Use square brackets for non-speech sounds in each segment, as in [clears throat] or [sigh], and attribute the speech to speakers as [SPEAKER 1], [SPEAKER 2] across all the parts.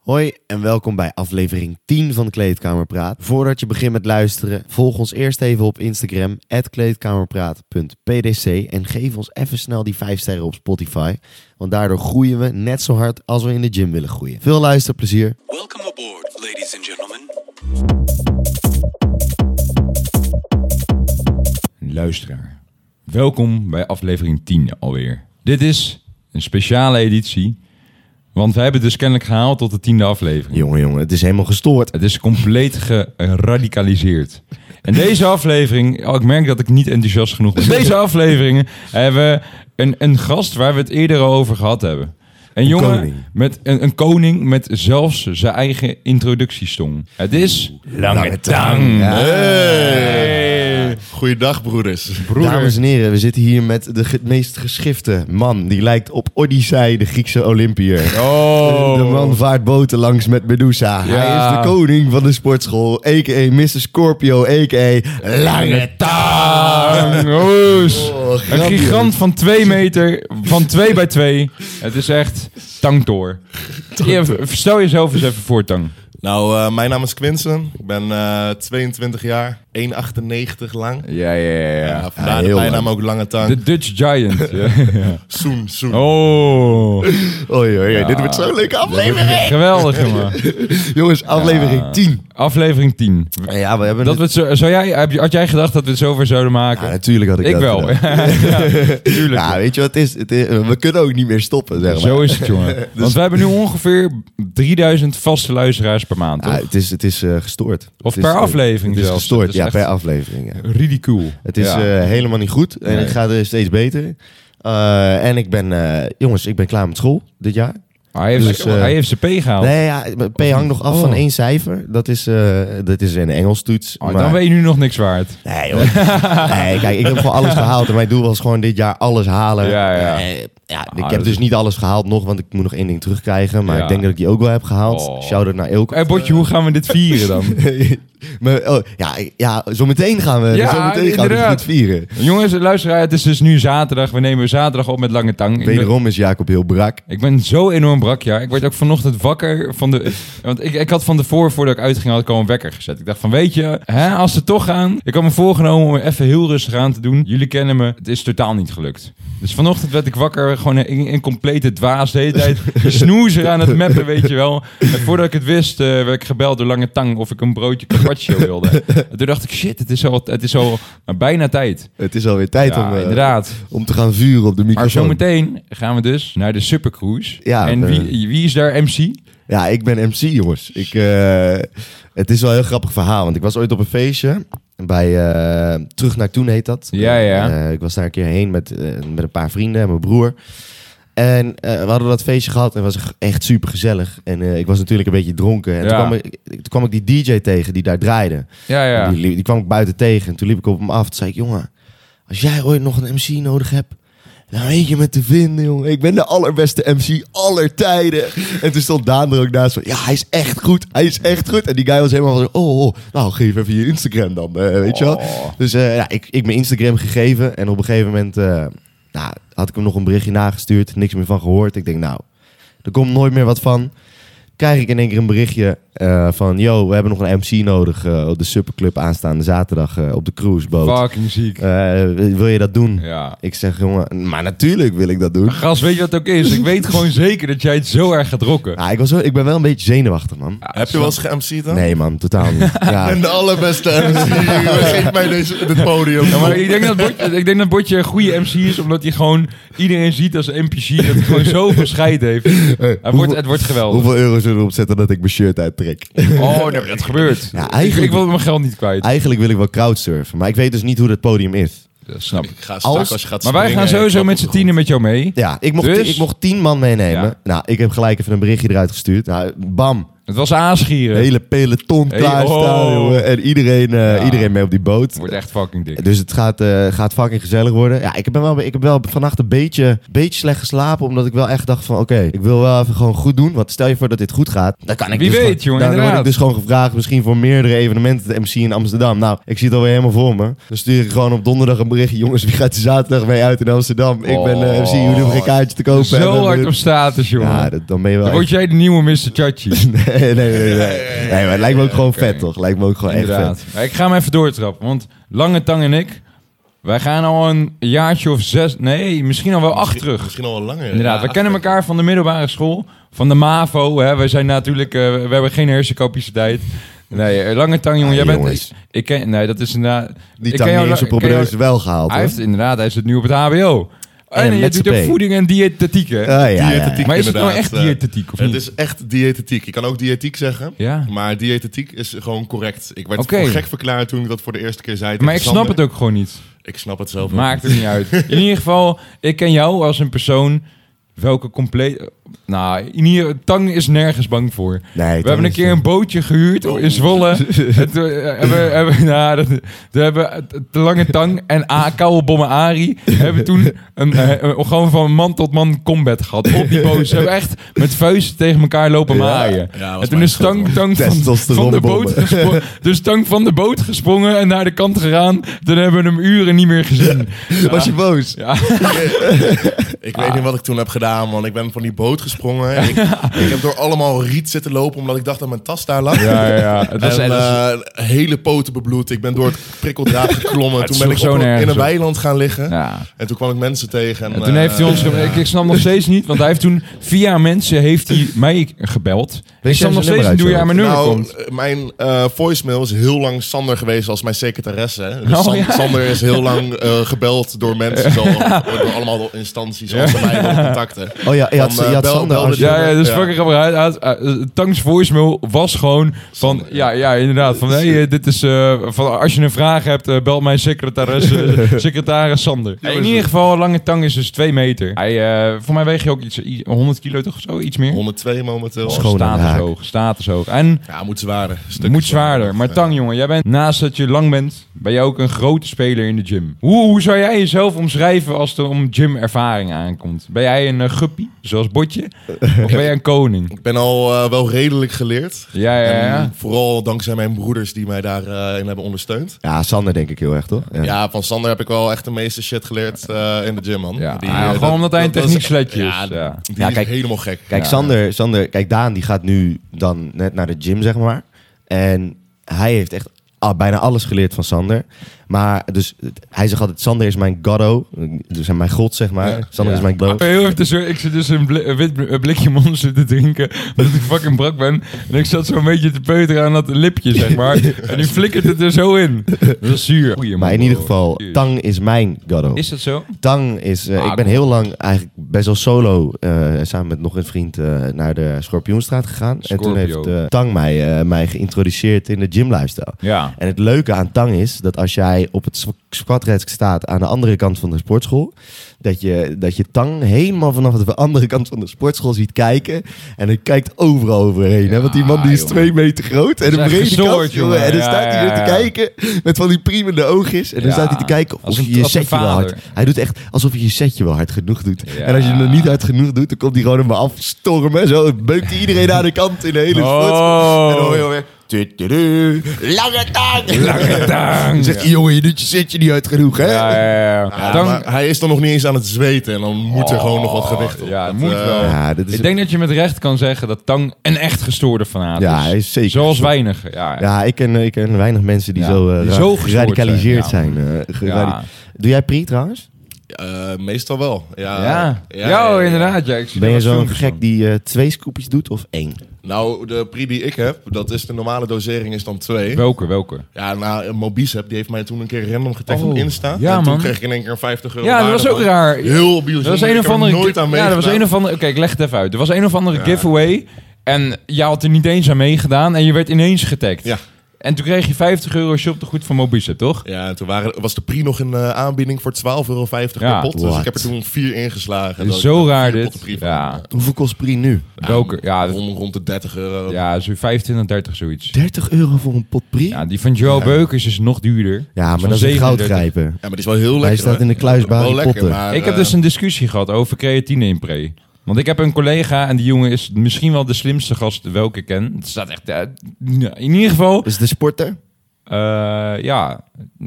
[SPEAKER 1] Hoi en welkom bij aflevering 10 van Kleedkamerpraat. Voordat je begint met luisteren, volg ons eerst even op Instagram, kleedkamerpraat.pdc en geef ons even snel die 5 sterren op Spotify, want daardoor groeien we net zo hard als we in de gym willen groeien. Veel luisterplezier.
[SPEAKER 2] Welcome aboard, ladies and gentlemen.
[SPEAKER 3] luisteraar. Welkom bij aflevering 10 alweer. Dit is een speciale editie, want we hebben het dus kennelijk gehaald tot de tiende aflevering.
[SPEAKER 1] Jongen, jongen, het is helemaal gestoord.
[SPEAKER 3] Het is compleet geradicaliseerd. En deze aflevering, oh, ik merk dat ik niet enthousiast genoeg ben. Deze afleveringen hebben we een, een gast waar we het eerder al over gehad hebben. Een, jongen
[SPEAKER 1] koning.
[SPEAKER 3] met een, een koning met zelfs zijn eigen introductiestong. Het is Lange Tang.
[SPEAKER 1] Ja.
[SPEAKER 3] Hey.
[SPEAKER 4] Goeiedag, broeders.
[SPEAKER 1] Dames en heren, we zitten hier met de ge- meest geschifte man. Die lijkt op Odyssey, de Griekse Olympiër.
[SPEAKER 3] Oh.
[SPEAKER 1] De man vaart boten langs met Medusa. Hij is de koning van de sportschool, a.k.a. Mr. Scorpio, a.k.a. Lange
[SPEAKER 3] Tang. Oes.
[SPEAKER 1] Oh,
[SPEAKER 3] dus. Een
[SPEAKER 1] grandioos.
[SPEAKER 3] gigant van 2 meter, van 2 bij 2. Het is echt tangtoor. Ja, v- Stel jezelf eens even voor, Tang.
[SPEAKER 4] Nou, eh, mijn naam is Quinsen. Ik ben eh, 22 jaar, 1,98 lang.
[SPEAKER 3] Ja, ja,
[SPEAKER 4] Ja, vandaar
[SPEAKER 1] Ja,
[SPEAKER 4] de
[SPEAKER 1] heel
[SPEAKER 4] bijnaam ook Lange Tang.
[SPEAKER 3] De Dutch Giant. ja.
[SPEAKER 4] Soen, Soen.
[SPEAKER 3] Oh,
[SPEAKER 1] Oei, oei, oei, dit wordt zo'n leuke
[SPEAKER 3] [laughs]
[SPEAKER 1] aflevering.
[SPEAKER 3] geweldig, jongen.
[SPEAKER 1] Jongens, aflevering 10.
[SPEAKER 3] Aflevering 10.
[SPEAKER 1] Ja, we hebben
[SPEAKER 3] Dat we het zo, zou jij, heb je- had jij gedacht dat we het zover zouden maken?
[SPEAKER 1] Ja, natuurlijk had ik,
[SPEAKER 3] ik
[SPEAKER 1] dat
[SPEAKER 3] wel.
[SPEAKER 1] gedaan.
[SPEAKER 3] [laughs] ja, tuurlijk.
[SPEAKER 1] Ja, weet je wat het is? Het is- We kunnen ook niet meer stoppen, zeg maar.
[SPEAKER 3] Zo is het,
[SPEAKER 1] [laughs]
[SPEAKER 3] jongen. Want we hebben nu ongeveer 3000 vaste luisteraars per maand.
[SPEAKER 1] Ja,
[SPEAKER 3] toch?
[SPEAKER 1] het is, het is eh, gestoord.
[SPEAKER 3] Of
[SPEAKER 1] Het is,
[SPEAKER 3] per
[SPEAKER 1] eh,
[SPEAKER 3] aflevering
[SPEAKER 1] Het is
[SPEAKER 3] zelfs.
[SPEAKER 1] gestoord,
[SPEAKER 3] Het is
[SPEAKER 1] ja,
[SPEAKER 3] echt-
[SPEAKER 1] per aflevering. ja.
[SPEAKER 3] Ridicuul.
[SPEAKER 1] Het is
[SPEAKER 3] Ja.
[SPEAKER 1] eh, helemaal niet goed en
[SPEAKER 3] Nee.
[SPEAKER 1] ik ga er steeds beter. Eh, en ik ben, eh, jongens, ik ben klaar met school dit jaar.
[SPEAKER 3] hij, heeft,
[SPEAKER 1] dus, eh,
[SPEAKER 3] hij heeft zijn P gehaald.
[SPEAKER 1] Nee, ja, mijn P hangt nog af
[SPEAKER 3] Oh.
[SPEAKER 1] van één cijfer. Dat is, eh, dat is een Engels toets.
[SPEAKER 3] Oh, Dan ben je nu nog niks waard.
[SPEAKER 1] Nee,
[SPEAKER 3] [laughs]
[SPEAKER 1] joh. nee, kijk, ik heb gewoon alles gehaald. En mijn doel was gewoon dit jaar alles halen.
[SPEAKER 3] Ja, ja.
[SPEAKER 1] Eh, ja, ik
[SPEAKER 3] Ah,
[SPEAKER 1] heb
[SPEAKER 3] dat
[SPEAKER 1] dus
[SPEAKER 3] is-
[SPEAKER 1] niet alles gehaald nog, want ik moet nog één ding terugkrijgen. Maar
[SPEAKER 3] Ja.
[SPEAKER 1] ik denk dat ik die ook wel heb gehaald.
[SPEAKER 3] Oh.
[SPEAKER 1] Shout-out naar Eelco.
[SPEAKER 3] Hey, Botje, hoe gaan we dit
[SPEAKER 1] [laughs]
[SPEAKER 3] vieren dan?
[SPEAKER 1] Maar, oh, ja, ik- ja, zometeen gaan we, dus
[SPEAKER 3] Ja,
[SPEAKER 1] zometeen gaan we dit
[SPEAKER 3] inderdaad.
[SPEAKER 1] goed vieren.
[SPEAKER 3] Jongens, luisteraar, het is dus nu zaterdag. We nemen zaterdag op met Lange Tang. Ik ben-
[SPEAKER 1] Wederom is Jacob heel brak.
[SPEAKER 3] Ik ben zo enorm brak, ja. Ik werd ook vanochtend wakker van de... Want ik, ik had van tevoren, voordat ik uitging, had ik al een wekker gezet. Ik dacht van, weet je, hè, als ze toch gaan... Ik had me voorgenomen om even heel rustig aan te doen. Jullie kennen me, het is totaal niet gelukt. Dus vanochtend werd ik wakker, gewoon in, in complete dwaas. De hele tijd
[SPEAKER 1] [laughs]
[SPEAKER 3] snoezer aan het mappen, weet je wel. En voordat ik het wist, eh, werd ik gebeld door Lange Tang... of ik een broodje carpaccio wilde. En toen dacht ik, shit, het is al, het is al bijna tijd.
[SPEAKER 1] Het is alweer tijd
[SPEAKER 3] Ja,
[SPEAKER 1] om, eh,
[SPEAKER 3] inderdaad.
[SPEAKER 1] om te gaan vuren op de
[SPEAKER 3] Maar
[SPEAKER 1] microfoon.
[SPEAKER 3] zometeen gaan we dus naar de Supercruise.
[SPEAKER 1] Ja,
[SPEAKER 3] en
[SPEAKER 1] eh,
[SPEAKER 3] wie, wie is daar MC?
[SPEAKER 1] Ja, ik ben MC, jongens. Ik, eh, het is wel een heel grappig verhaal. Want ik was ooit op een feestje. Bij eh, Terug naar Toen heet dat.
[SPEAKER 3] Ja, ja.
[SPEAKER 1] Eh, ik was daar een keer heen met, eh, met een paar vrienden en mijn broer. En eh, we hadden dat feestje gehad en het was echt super gezellig. En eh, ik was natuurlijk een beetje dronken. En
[SPEAKER 3] Ja.
[SPEAKER 1] toen, kwam ik, toen kwam ik die DJ tegen die daar draaide.
[SPEAKER 3] Ja, ja.
[SPEAKER 1] Die, liep- die kwam ik buiten tegen. En toen liep ik op hem af. Toen zei ik, jongen, als jij ooit nog een MC nodig hebt... Dan weet je me te vinden, jongen. Ik ben de allerbeste MC aller tijden. En toen stond Daan er ook naast van... Ja, hij is echt goed. Hij is echt goed. En die guy was helemaal van... Oh, oh, nou, geef even je Instagram dan. eh, weet je wel?
[SPEAKER 3] Oh.
[SPEAKER 1] Dus eh, ja, ik, ik mijn Instagram gegeven. En op een gegeven moment... eh, nou, had ik hem nog een berichtje nagestuurd. Niks meer van gehoord. Ik denk, nou... Er komt nooit meer wat van. Krijg ik in één keer een berichtje eh, van... Yo, we hebben nog een MC nodig eh, op de Superclub aanstaande zaterdag eh, op de cruiseboot.
[SPEAKER 3] Fucking ziek.
[SPEAKER 1] Eh, wil je dat doen?
[SPEAKER 3] Ja.
[SPEAKER 1] Ik zeg, jongen, maar natuurlijk wil ik dat doen.
[SPEAKER 3] Gast, weet je wat het ook is? Ik weet gewoon zeker dat jij het zo erg gaat rocken.
[SPEAKER 1] Ja, Ah, ik, was wel, ik ben wel een beetje zenuwachtig, man.
[SPEAKER 3] Ja,
[SPEAKER 4] Heb je wel eens ge-MC'd dan?
[SPEAKER 1] Nee, man, totaal
[SPEAKER 3] [laughs]
[SPEAKER 1] niet. Ja,
[SPEAKER 4] En de allerbeste MC. Geef mij deze, dit podium.
[SPEAKER 3] Ja, maar ik denk, dat Botje, ik denk dat Botje een goede MC is, omdat hij gewoon iedereen ziet als een NPC. Dat hij gewoon zoveel scheid heeft. Het wordt, het wordt geweldig.
[SPEAKER 1] hoeveel euro zullen we opzetten dat ik mijn shirt uittrek?
[SPEAKER 3] [laughs] Oh, nee, maar dat gebeurt.
[SPEAKER 1] Ja,
[SPEAKER 3] ik,
[SPEAKER 1] eigenlijk-
[SPEAKER 3] ik wil mijn geld niet kwijt.
[SPEAKER 1] Eigenlijk wil ik wel crowdsurfen, maar ik weet dus niet hoe dat podium is.
[SPEAKER 3] Dat snap ik.
[SPEAKER 4] Ik ga straks
[SPEAKER 1] Als-
[SPEAKER 4] als, je gaat
[SPEAKER 3] Maar wij
[SPEAKER 4] springen,
[SPEAKER 3] gaan sowieso
[SPEAKER 4] ik
[SPEAKER 3] met z'n
[SPEAKER 4] klap op de
[SPEAKER 3] tienen met jou mee.
[SPEAKER 1] Ja, ik mocht,
[SPEAKER 3] Dus?
[SPEAKER 1] ik mocht tien man meenemen.
[SPEAKER 3] Ja.
[SPEAKER 1] Nou, ik heb gelijk even een berichtje eruit gestuurd. Nou, bam,
[SPEAKER 3] Het was aanschieren.
[SPEAKER 1] Hele peloton
[SPEAKER 3] Hey,
[SPEAKER 1] klaarstaan,
[SPEAKER 3] oh.
[SPEAKER 1] jongen. En iedereen, eh,
[SPEAKER 3] Ja.
[SPEAKER 1] iedereen mee op die boot.
[SPEAKER 3] Wordt echt fucking dik.
[SPEAKER 1] Dus het gaat, eh, gaat fucking gezellig worden. Ja, ik, ben wel, ik heb wel vannacht een beetje, beetje slecht geslapen. Omdat ik wel echt dacht van... Oké, ik wil wel even gewoon goed doen. Want stel je voor dat dit goed gaat. Dan kan ik
[SPEAKER 3] Wie
[SPEAKER 1] dus
[SPEAKER 3] weet,
[SPEAKER 1] gewoon-
[SPEAKER 3] jongen,
[SPEAKER 1] Dan word ik
[SPEAKER 3] inderdaad.
[SPEAKER 1] dus gewoon gevraagd misschien voor meerdere evenementen. De MC in Amsterdam. Nou, ik zie het alweer helemaal voor me. Dan stuur ik gewoon op donderdag een berichtje. Jongens, wie gaat er zaterdag mee uit in Amsterdam? Ik ben eh, MC, jullie hebben geen kaartje te kopen. En
[SPEAKER 3] Zo
[SPEAKER 1] dan- eh,
[SPEAKER 3] hard op status, jongen.
[SPEAKER 1] Ja, dat, dan ben je wel
[SPEAKER 3] Dan word
[SPEAKER 1] echt-
[SPEAKER 3] jij de nieuwe Mr. Chachi.
[SPEAKER 1] [laughs] nee, nee, nee, nee. Nee, maar het lijkt me ook gewoon vet, toch? Lijkt me ook gewoon echt vet.
[SPEAKER 3] Inderdaad. Maar ik ga hem even doortrappen, want Lange Tang en ik, wij gaan al een jaartje of zes, nee, misschien al wel acht terug.
[SPEAKER 4] Misschien al wel langer.
[SPEAKER 3] Inderdaad,
[SPEAKER 4] Ja,
[SPEAKER 3] we kennen
[SPEAKER 4] achter.
[SPEAKER 3] elkaar van de middelbare school, van de MAVO. Hè. We zijn natuurlijk, eh, we hebben geen hersencapaciteit. Nee, eh, Lange Tang, jongen,
[SPEAKER 1] Ah,
[SPEAKER 3] jij bent...
[SPEAKER 1] jongens.
[SPEAKER 3] Ik ken, nee, dat is inderdaad...
[SPEAKER 1] Die
[SPEAKER 3] ik ken
[SPEAKER 1] tang
[SPEAKER 3] jou-
[SPEAKER 1] heeft zijn
[SPEAKER 3] ik ken jou-
[SPEAKER 1] propedeuse wel gehaald,
[SPEAKER 3] Hij
[SPEAKER 1] hoor.
[SPEAKER 3] heeft inderdaad, hij zit nu op het HBO. En,
[SPEAKER 1] En
[SPEAKER 3] je
[SPEAKER 1] met
[SPEAKER 3] doet
[SPEAKER 1] z'n
[SPEAKER 3] ook
[SPEAKER 1] P.
[SPEAKER 3] voeding en diëtetiek, hè?
[SPEAKER 1] Ah, ja, ja, ja.
[SPEAKER 4] Diëtetiek
[SPEAKER 3] Maar is het nou
[SPEAKER 4] inderdaad.
[SPEAKER 3] echt diëtetiek, of
[SPEAKER 4] Het
[SPEAKER 3] niet?
[SPEAKER 4] is echt diëtetiek. Je kan ook diëtiek zeggen.
[SPEAKER 3] Ja.
[SPEAKER 4] [laughs] Maar diëtetiek is gewoon correct. Ik werd
[SPEAKER 3] Oké.
[SPEAKER 4] voor gek verklaard toen ik dat voor de eerste keer zei.
[SPEAKER 3] Maar ik
[SPEAKER 4] tegen
[SPEAKER 3] snap het
[SPEAKER 4] Sander.
[SPEAKER 3] ook gewoon niet.
[SPEAKER 4] Ik snap het zelf ook.
[SPEAKER 3] Maakt het niet uit. In ieder geval, ik ken jou als een persoon welke compleet... Nou, in ieder Tang is nergens bang voor.
[SPEAKER 1] Nee,
[SPEAKER 3] we hebben een keer een bootje gehuurd in Zwolle. En toen hebben, hebben, [laughs] nou, dat, toen hebben de lange tang en A, koude bommen Ari... hebben toen een, eh, een- gewoon van man tot man combat gehad op die boot. Ze hebben echt met vuisten tegen elkaar lopen
[SPEAKER 1] Ja.
[SPEAKER 3] maaien.
[SPEAKER 4] Ja, was
[SPEAKER 3] en toen
[SPEAKER 4] mijn
[SPEAKER 3] is tang, tang van,
[SPEAKER 1] Testosteron
[SPEAKER 3] van de boot
[SPEAKER 1] bommen.
[SPEAKER 3] gesprongen. Dus tang van de boot gesprongen en naar de kant gegaan. Toen hebben we hem uren niet meer gezien.
[SPEAKER 1] Was je boos?
[SPEAKER 4] Ik weet niet wat ik toen heb gedaan, man. Ik ben van die boot
[SPEAKER 3] [laughs]
[SPEAKER 4] gesprongen. Ik, ik heb door allemaal riet zitten lopen, omdat ik dacht dat mijn tas daar lag.
[SPEAKER 3] Ja, ja,
[SPEAKER 4] [laughs]
[SPEAKER 3] [laughs] ja. Het was,
[SPEAKER 4] en,
[SPEAKER 3] het was-
[SPEAKER 4] eh, hele poten bebloed. Ik ben door het
[SPEAKER 3] [laughs]
[SPEAKER 4] prikkeldraad geklommen. toen ben
[SPEAKER 3] sloeg
[SPEAKER 4] ik
[SPEAKER 3] zo
[SPEAKER 4] op, een- in
[SPEAKER 3] nergens
[SPEAKER 4] een
[SPEAKER 3] op.
[SPEAKER 4] weiland gaan liggen.
[SPEAKER 3] ja.
[SPEAKER 4] En toen kwam ik mensen tegen. En, eh,
[SPEAKER 3] En toen heeft hij ons... ge- Ik, ik snap
[SPEAKER 4] [laughs]
[SPEAKER 3] nog steeds niet, want hij heeft toen... Via mensen heeft hij mij gebeld.
[SPEAKER 1] jij
[SPEAKER 3] Ik snap
[SPEAKER 1] zijn
[SPEAKER 3] nog
[SPEAKER 1] nummer
[SPEAKER 3] steeds niet hoe
[SPEAKER 1] uit,
[SPEAKER 3] je aan mijn nummer
[SPEAKER 4] nou,
[SPEAKER 3] komt.
[SPEAKER 4] eh, mijn eh, voicemail is heel lang Sander geweest als mijn secretaresse. Dus
[SPEAKER 3] Oh,
[SPEAKER 4] San-
[SPEAKER 3] ja.
[SPEAKER 4] Sander is heel
[SPEAKER 3] [laughs]
[SPEAKER 4] lang eh, gebeld door mensen, zo, door allemaal door instanties, zoals mij, door contacten.
[SPEAKER 1] Oh ja, je had,
[SPEAKER 4] Van, eh,
[SPEAKER 1] je had
[SPEAKER 4] bel-
[SPEAKER 1] Sander
[SPEAKER 4] bel
[SPEAKER 1] als
[SPEAKER 4] dit
[SPEAKER 1] je...
[SPEAKER 3] Ja, ja, dus
[SPEAKER 4] Ja.
[SPEAKER 3] fucking grappig. Hij- hij had, eh, Tanks voicemail was gewoon van... Ja, ja inderdaad. Van, hey, eh, dit is... eh, van, als je een vraag hebt, eh, bel mijn secretaris, eh, secretaris Sander. in ieder geval, Lange Tang is dus twee meter. Hij, eh, voor mij weeg je ook iets, i- 100 kilo toch of zo? Iets meer?
[SPEAKER 4] 102 momenteel.
[SPEAKER 1] Schoon. Gewoon een
[SPEAKER 3] status
[SPEAKER 1] haak.
[SPEAKER 3] hoog, status hoog. En
[SPEAKER 4] Ja, moet zwaarder. Stuk
[SPEAKER 3] moet zwaarder. Maar Tang, jongen, jij bent naast dat je lang bent, ben je ook een grote speler in de gym. Hoe, hoe zou jij jezelf omschrijven als het om gymervaring aankomt? Ben jij een eh, guppie, zoals
[SPEAKER 1] [laughs]
[SPEAKER 3] Botje? Of ben jij een koning?
[SPEAKER 4] Ik ben al eh, wel redelijk geleerd.
[SPEAKER 3] Ja, ja, ja.
[SPEAKER 4] En vooral dankzij mijn broeders die mij daarin in hebben ondersteund.
[SPEAKER 1] Ja, Sander denk ik heel erg, toch? Ja.
[SPEAKER 4] Ja, van Sander heb ik wel echt de meeste shit geleerd eh, in de gym, man.
[SPEAKER 3] Ja,
[SPEAKER 4] Die,
[SPEAKER 3] ah,
[SPEAKER 4] eh,
[SPEAKER 3] gewoon
[SPEAKER 4] dat-
[SPEAKER 3] omdat hij een
[SPEAKER 4] dat- dat
[SPEAKER 3] techniek
[SPEAKER 4] is-
[SPEAKER 3] sletje is.
[SPEAKER 4] Ja,
[SPEAKER 3] Ja.
[SPEAKER 4] die
[SPEAKER 1] Ja,
[SPEAKER 4] is
[SPEAKER 1] kijk-
[SPEAKER 4] helemaal gek.
[SPEAKER 1] Kijk,
[SPEAKER 3] Ja.
[SPEAKER 1] Sander, Sander, kijk, Daan die gaat nu dan net naar de gym, zeg maar. En hij heeft echt al- bijna alles geleerd van Sander. Maar dus, het- hij zegt altijd, Sander is mijn goddo. Dus hij mijn god, zeg maar. Sander
[SPEAKER 3] Ja. Ah,
[SPEAKER 1] is mijn goddo.
[SPEAKER 3] Ik ben heel even tussen- ik zit dus een, bli- een wit bl- een blikje monster te drinken. Omdat ik fucking brak ben. En ik zat zo'n beetje te peuteren aan dat lipje, zeg maar.
[SPEAKER 1] [laughs]
[SPEAKER 3] En nu flikkert het er zo in. Dat is zuur. Goeie man,
[SPEAKER 1] Maar in ieder
[SPEAKER 3] bro.
[SPEAKER 1] geval,
[SPEAKER 3] Jezus.
[SPEAKER 1] Tang is mijn goddo.
[SPEAKER 3] Is dat zo?
[SPEAKER 1] Tang is... eh,
[SPEAKER 3] Ah,
[SPEAKER 1] ik ben
[SPEAKER 3] kom.
[SPEAKER 1] heel lang eigenlijk best wel solo... eh, samen met nog een vriend eh, naar de Schorpioenstraat gegaan. En toen
[SPEAKER 3] Scorpio.
[SPEAKER 1] heeft eh, Tang mij, eh, mij geïntroduceerd in de gym lifestyle.
[SPEAKER 3] Ja.
[SPEAKER 1] En het leuke aan Tang is dat als jij op het squatrek staat aan de andere kant van de sportschool, dat je, dat je Tang helemaal vanaf de andere kant van de sportschool ziet kijken. En hij kijkt overal overheen. hè? Want die man die is
[SPEAKER 3] jongen.
[SPEAKER 1] twee meter groot en
[SPEAKER 3] is
[SPEAKER 1] een
[SPEAKER 3] echt
[SPEAKER 1] brede
[SPEAKER 3] gestoord,
[SPEAKER 1] kast, jongen.
[SPEAKER 3] jongen.
[SPEAKER 1] En dan
[SPEAKER 3] Ja,
[SPEAKER 1] staat hij
[SPEAKER 3] ja,
[SPEAKER 1] weer te
[SPEAKER 3] ja.
[SPEAKER 1] kijken met van die priemende oogjes. En dan
[SPEAKER 3] Ja.
[SPEAKER 1] staat hij te kijken of
[SPEAKER 3] Als een-
[SPEAKER 1] je je
[SPEAKER 3] als een
[SPEAKER 1] setje wel
[SPEAKER 3] vader.
[SPEAKER 1] hard... Hij doet echt alsof je je setje wel hard genoeg doet.
[SPEAKER 3] Ja.
[SPEAKER 1] En als je het niet hard genoeg doet, dan komt hij gewoon hem afstormen. Zo beukt hij iedereen aan de kant in de hele sportschool. En dan hoor je
[SPEAKER 3] Oh,
[SPEAKER 1] alweer... tududu, Lange tang!
[SPEAKER 3] [laughs] lange
[SPEAKER 1] Dan
[SPEAKER 3] tang.
[SPEAKER 1] zegt hij, jongen, je doet je zitje niet uit genoeg, hè?
[SPEAKER 3] Ja, ja, ja.
[SPEAKER 4] Ja,
[SPEAKER 3] Dan-
[SPEAKER 4] maar hij is dan nog niet eens aan het zweten en dan moet er gewoon nog wat gewicht op.
[SPEAKER 3] Oh, ja,
[SPEAKER 4] Dat,
[SPEAKER 3] moet
[SPEAKER 4] eh,
[SPEAKER 3] wel.
[SPEAKER 1] Ja, dit is-
[SPEAKER 3] Ik denk dat je met recht kan zeggen dat Tang een echt gestoorde fanaat
[SPEAKER 1] Ja,
[SPEAKER 3] is.
[SPEAKER 1] hij is zeker
[SPEAKER 3] Zoals
[SPEAKER 1] gestoord.
[SPEAKER 3] weinig. Ja,
[SPEAKER 1] Ja, ik ken, ik ken weinig mensen die
[SPEAKER 3] Ja,
[SPEAKER 1] zo, eh,
[SPEAKER 3] die
[SPEAKER 1] ra-
[SPEAKER 3] zo gestoord
[SPEAKER 1] geradicaliseerd zijn.
[SPEAKER 3] zijn,
[SPEAKER 1] eh, geradi- Doe jij pri trouwens?
[SPEAKER 4] eh, meestal wel. Ja,
[SPEAKER 3] Ja, ja, oh, inderdaad. Ja, ik zie
[SPEAKER 1] Ben
[SPEAKER 3] er
[SPEAKER 1] je
[SPEAKER 3] wat
[SPEAKER 1] zo'n
[SPEAKER 3] filmpjes
[SPEAKER 1] gek
[SPEAKER 3] van.
[SPEAKER 1] die eh, twee scoopjes doet of één?
[SPEAKER 4] Nou, de pri die ik heb, dat is de normale dosering is dan twee.
[SPEAKER 3] Welke, welke?
[SPEAKER 4] Ja, nou, Mobicep, die heeft mij toen een keer random getagd op
[SPEAKER 3] Oh,
[SPEAKER 4] Insta.
[SPEAKER 3] ja,
[SPEAKER 4] en toen
[SPEAKER 3] man.
[SPEAKER 4] kreeg ik in één keer 50 euro.
[SPEAKER 3] Ja, dat was
[SPEAKER 4] waarde
[SPEAKER 3] ook
[SPEAKER 4] van-
[SPEAKER 3] raar.
[SPEAKER 4] Heel bijzonder.
[SPEAKER 3] Dat was een
[SPEAKER 4] Ik
[SPEAKER 3] of
[SPEAKER 4] heb er
[SPEAKER 3] andere...
[SPEAKER 4] nooit
[SPEAKER 3] ja,
[SPEAKER 4] aan
[SPEAKER 3] dat was
[SPEAKER 4] meegedaan.
[SPEAKER 3] een of andere... Oké, ik leg het even uit. Er was een of andere giveaway en jij had er niet eens aan meegedaan en je werd ineens getagd.
[SPEAKER 4] Ja.
[SPEAKER 3] En toen kreeg je 50 euro shoptegoed van Mobicep, toch?
[SPEAKER 4] Ja, en toen waren, was de Pri nog een eh, aanbieding voor 12,50 euro
[SPEAKER 3] Ja,
[SPEAKER 4] per pot. Dus
[SPEAKER 1] what?
[SPEAKER 4] ik heb er toen vier ingeslagen.
[SPEAKER 3] Zo
[SPEAKER 4] Dat ik vier
[SPEAKER 3] raar dit.
[SPEAKER 4] potten Pri van-
[SPEAKER 3] Ja.
[SPEAKER 1] Hoeveel kost Pri nu?
[SPEAKER 3] Welke? Ja, dat-
[SPEAKER 4] Rond, rond de 30 euro.
[SPEAKER 3] ja zo 25, 30 zoiets.
[SPEAKER 1] 30 euro voor een pot Pri?
[SPEAKER 3] Ja, die van Joe Beukers is nog duurder.
[SPEAKER 1] Ja, maar
[SPEAKER 3] Zo'n
[SPEAKER 1] dat is een
[SPEAKER 3] 37.
[SPEAKER 1] goudgrijper.
[SPEAKER 4] Ja, maar die is wel heel lekker.
[SPEAKER 1] Hij staat
[SPEAKER 4] hoor.
[SPEAKER 1] in de kluisbaan
[SPEAKER 4] Wel
[SPEAKER 1] in
[SPEAKER 4] lekker,
[SPEAKER 1] potten.
[SPEAKER 4] maar,
[SPEAKER 3] Ik heb
[SPEAKER 4] eh,
[SPEAKER 3] dus een discussie gehad over creatine in pre. Want ik heb een collega en die jongen is misschien wel de slimste gast welke ik ken. Het staat echt... eh, nou, in ieder geval...
[SPEAKER 1] Dus de sporter?
[SPEAKER 3] eh, ja.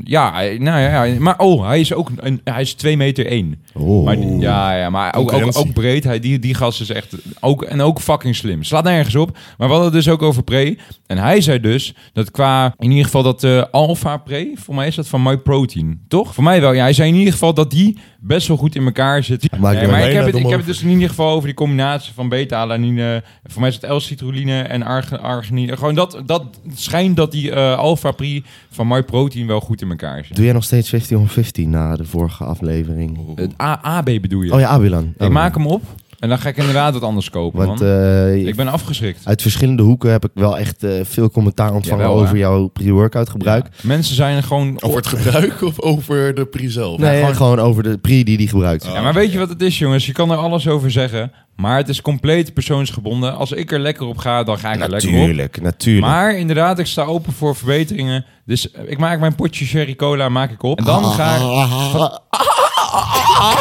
[SPEAKER 3] Ja, eh, nou ja, ja. Maar oh, hij is ook... Een, hij is 2 meter 1.
[SPEAKER 1] Oh.
[SPEAKER 3] Maar, die- ja, ja, maar ook, ook,
[SPEAKER 4] Concurrentie.
[SPEAKER 3] ook breed. Hij, die, die gast is echt... Ook, en ook fucking slim. Slaat nergens op. Maar we hadden het dus ook over pre. En hij zei dus dat qua... In ieder geval dat eh alpha pre... Voor mij is dat van MyProtein. Toch? Voor mij wel. Ja, hij zei in ieder geval dat die best wel goed in elkaar zit.
[SPEAKER 1] Maak je
[SPEAKER 3] Nee, maar
[SPEAKER 1] er
[SPEAKER 3] ik
[SPEAKER 4] bijna
[SPEAKER 3] heb, het,
[SPEAKER 4] dom
[SPEAKER 3] ik heb het
[SPEAKER 4] over.
[SPEAKER 3] dus in ieder geval over die combinatie van beta-alanine... Voor mij is het L-citroline en arg- arginine. Gewoon dat... dat het schijnt dat die eh alpha pre van MyProtein wel goed in elkaar zit.
[SPEAKER 1] Doe jij nog steeds 15 on 15 na de vorige aflevering?
[SPEAKER 3] Het A- AB bedoel je?
[SPEAKER 1] Oh ja, Abilan.
[SPEAKER 3] Oh, Ik
[SPEAKER 1] Abilan.
[SPEAKER 3] maak hem op en dan ga ik inderdaad wat anders kopen,
[SPEAKER 1] Want
[SPEAKER 3] man.
[SPEAKER 1] eh,
[SPEAKER 3] ik ben afgeschrikt.
[SPEAKER 1] uit verschillende hoeken heb ik wel echt eh, veel commentaar ontvangen
[SPEAKER 3] Jawel,
[SPEAKER 1] over
[SPEAKER 3] hè?
[SPEAKER 1] jouw pre-workout gebruik.
[SPEAKER 3] Mensen zijn er gewoon...
[SPEAKER 4] Over het gebruik of over de Pri zelf?
[SPEAKER 1] Nee, nou, gewoon... over de pre die die gebruikt.
[SPEAKER 3] Ja, maar weet je wat het is, jongens? Je kan er alles over zeggen, maar het is compleet persoonsgebonden. Als ik er lekker op ga, dan ga ik er lekker op.
[SPEAKER 1] natuurlijk, natuurlijk.
[SPEAKER 3] Maar inderdaad, ik sta open voor verbeteringen. Dus eh, ik maak mijn potje sherry cola maak ik op. En dan ga ik... Ah,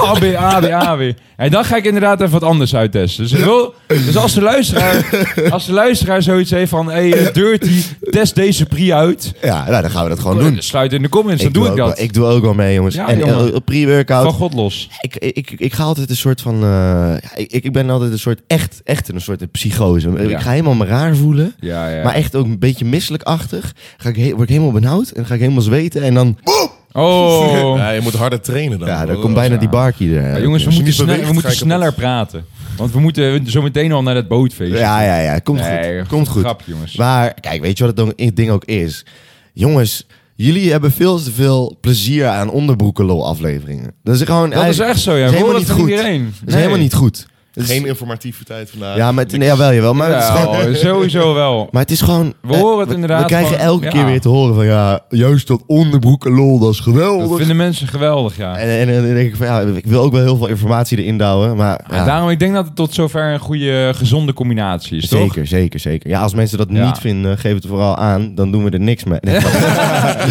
[SPEAKER 3] AB, AB, AB. En ah, dan ga ik inderdaad even wat anders uittesten. Dus, ik wil, dus als, de luisteraar, als de luisteraar zoiets heeft van... Hey, eh, Dirty, test deze pri uit.
[SPEAKER 1] Ja, nou, dan gaan we dat gewoon doen.
[SPEAKER 3] Sluit in de comments, Dus dan doe, ik
[SPEAKER 1] ook
[SPEAKER 3] dat.
[SPEAKER 1] Wel, ik doe ook wel mee, jongens.
[SPEAKER 3] Ja,
[SPEAKER 1] en
[SPEAKER 3] jongen.
[SPEAKER 1] eh, pre-workout.
[SPEAKER 3] Van God los.
[SPEAKER 1] Ik, ik, ik ga altijd een soort van. eh, ja, ik, ik ben altijd een soort. Echt, echt een soort psychose.
[SPEAKER 3] Ja.
[SPEAKER 1] Ik ga helemaal me raar voelen.
[SPEAKER 3] Ja, ja.
[SPEAKER 1] Maar echt ook een beetje misselijkachtig. Ga ik he- word ik helemaal benauwd en ga ik helemaal zweten. En dan. [laughs]
[SPEAKER 3] Oh.
[SPEAKER 4] Ja, je moet harder trainen dan.
[SPEAKER 1] Ja, dan komt bijna die barkie er.
[SPEAKER 3] Ja, jongens, we
[SPEAKER 4] je
[SPEAKER 3] moeten,
[SPEAKER 4] niet
[SPEAKER 3] sneller-
[SPEAKER 4] beweegt,
[SPEAKER 3] we moeten
[SPEAKER 4] ga je kapot.
[SPEAKER 3] sneller praten. Want we moeten zo meteen al naar dat bootfeest.
[SPEAKER 1] Ja, ja, ja. Komt
[SPEAKER 3] Nee,
[SPEAKER 1] goed. Komt goed.
[SPEAKER 3] grapje, jongens.
[SPEAKER 1] Maar kijk, weet je wat het dan- ding ook is? Jongens, jullie hebben veel te veel plezier aan onderbroekenlol afleveringen. Dat is gewoon.
[SPEAKER 3] Dat is echt zo, ja.
[SPEAKER 1] Dat
[SPEAKER 3] We
[SPEAKER 1] is helemaal
[SPEAKER 3] horen
[SPEAKER 1] niet
[SPEAKER 3] het van
[SPEAKER 1] goed.
[SPEAKER 3] iedereen.
[SPEAKER 1] Dat is helemaal niet goed. Dat is-
[SPEAKER 4] Geen informativiteit vandaag.
[SPEAKER 1] Ja, maar het, ja, wel, jawel. Maar het is gewoon.
[SPEAKER 3] Ja, oh, sowieso wel.
[SPEAKER 1] [laughs] Maar het is gewoon...
[SPEAKER 3] We
[SPEAKER 1] eh,
[SPEAKER 3] horen het inderdaad
[SPEAKER 1] We krijgen
[SPEAKER 3] gewoon-
[SPEAKER 1] elke
[SPEAKER 3] ja.
[SPEAKER 1] keer weer te horen van... Ja, juist dat onderbroek en lol, dat is
[SPEAKER 3] Dat
[SPEAKER 1] geweldig.
[SPEAKER 3] vinden mensen geweldig, ja.
[SPEAKER 1] En, en, en dan denk ik van... Ja, ik wil ook wel heel veel informatie erin douwen. Maar
[SPEAKER 3] Ja,
[SPEAKER 1] ja,
[SPEAKER 3] Daarom, ik denk dat het tot zover een goede, gezonde combinatie is, toch?
[SPEAKER 1] zeker, zeker, zeker. Ja, als mensen dat
[SPEAKER 3] Ja.
[SPEAKER 1] niet vinden, geef het vooral aan. Dan doen we er niks mee. Nee,
[SPEAKER 3] [laughs]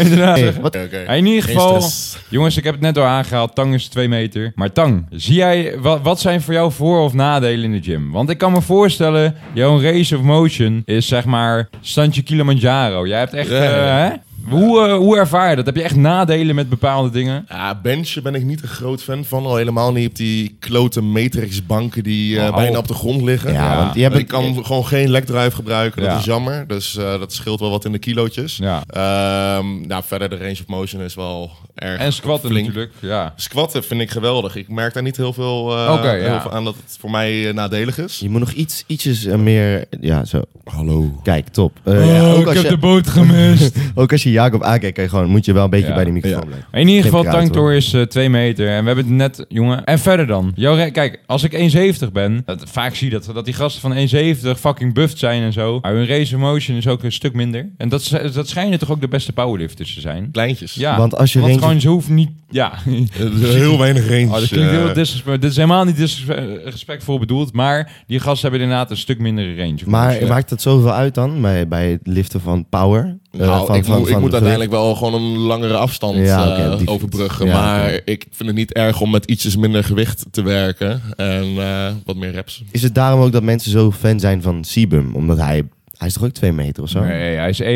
[SPEAKER 3] Inderdaad.
[SPEAKER 1] nee, wat?
[SPEAKER 4] Oké, oké.
[SPEAKER 3] Ja, in ieder
[SPEAKER 4] Geen
[SPEAKER 3] geval,
[SPEAKER 4] stress.
[SPEAKER 3] jongens, ik heb het net al aangehaald. Tang is 2 meter. Maar Tang, zie jij, wat, wat zijn voor jou voor- of nadelen in de gym? Want ik kan me voorstellen, jouw race of motion is zeg maar standje Kilimanjaro. Jij hebt echt,
[SPEAKER 4] Ja, ja,
[SPEAKER 3] eh, hè? Hoe, eh, hoe ervaar je dat? Heb je echt nadelen met bepaalde dingen?
[SPEAKER 4] Ja, benchen ben ik niet een groot fan van. Al helemaal niet op die klote matrixbanken die eh,
[SPEAKER 3] Oh.
[SPEAKER 4] bijna op de grond liggen.
[SPEAKER 1] Ja,
[SPEAKER 3] Ja,
[SPEAKER 1] want je hebt
[SPEAKER 4] ik kan gewoon geen lekdrive gebruiken. Dat
[SPEAKER 3] Ja.
[SPEAKER 4] is jammer. Dus eh, dat scheelt wel wat in de kilootjes.
[SPEAKER 3] Ja.
[SPEAKER 4] Ehm, nou, verder de range of motion is wel erg
[SPEAKER 3] En squatten
[SPEAKER 4] flink.
[SPEAKER 3] natuurlijk, ja.
[SPEAKER 4] Squatten vind ik geweldig. Ik merk daar niet heel veel, eh,
[SPEAKER 3] Oké, ja.
[SPEAKER 4] heel veel aan dat het voor mij eh, nadelig is.
[SPEAKER 1] Je moet nog iets, ietsjes eh, meer... Ja, zo.
[SPEAKER 4] Hallo.
[SPEAKER 1] Kijk, top.
[SPEAKER 3] Oh,
[SPEAKER 1] Eh, ja, ook, als je,
[SPEAKER 3] boot gemist.
[SPEAKER 1] ook als je Jacob aankijkt, kan je gewoon, moet je wel een beetje
[SPEAKER 3] Ja.
[SPEAKER 1] bij die microfoon
[SPEAKER 4] Ja.
[SPEAKER 1] blijven.
[SPEAKER 3] In ieder geval,
[SPEAKER 1] Geen praat,
[SPEAKER 3] Tanktor
[SPEAKER 1] hoor.
[SPEAKER 3] is 2 meter. En we hebben het net, jongen. En verder dan. Jouw re- Kijk, als ik 1,70 ben. Dat, vaak zie je dat, dat die gasten van 1,70 fucking buffed zijn en zo. Maar hun race motion is ook een stuk minder. En dat, sch- dat schijnen toch ook de beste powerlifters te zijn.
[SPEAKER 4] Kleintjes. Eh, dus
[SPEAKER 3] Ja,
[SPEAKER 1] Want als je
[SPEAKER 3] want
[SPEAKER 1] range- Dus,
[SPEAKER 3] gewoon ze hoeven niet...
[SPEAKER 1] [laughs]
[SPEAKER 3] Ja,
[SPEAKER 4] Heel weinig range.
[SPEAKER 3] Oh, dat klinkt heel
[SPEAKER 4] eh.
[SPEAKER 3] disrespe- Dit is helemaal niet disrespectvol bedoeld. Maar die gasten hebben inderdaad een stuk mindere range.
[SPEAKER 1] Maar
[SPEAKER 3] Dus, eh,
[SPEAKER 1] maakt dat zoveel uit dan bij, bij het liften van power? Eh,
[SPEAKER 4] Nou,
[SPEAKER 1] van-
[SPEAKER 4] ik,
[SPEAKER 1] van-
[SPEAKER 4] moet- ik
[SPEAKER 1] van-
[SPEAKER 4] moet
[SPEAKER 1] van-
[SPEAKER 4] uiteindelijk wel gewoon een langere afstand
[SPEAKER 1] Ja, oké,
[SPEAKER 4] eh,
[SPEAKER 1] op die fiets.
[SPEAKER 4] overbruggen.
[SPEAKER 1] Ja,
[SPEAKER 4] maar ik vind het niet erg om met ietsjes minder gewicht te werken. En eh, wat meer reps.
[SPEAKER 1] Is het daarom ook dat mensen zo fan zijn van Sibum? Omdat hij... Hij is toch ook twee meter of zo?
[SPEAKER 3] Nee, hij is 1-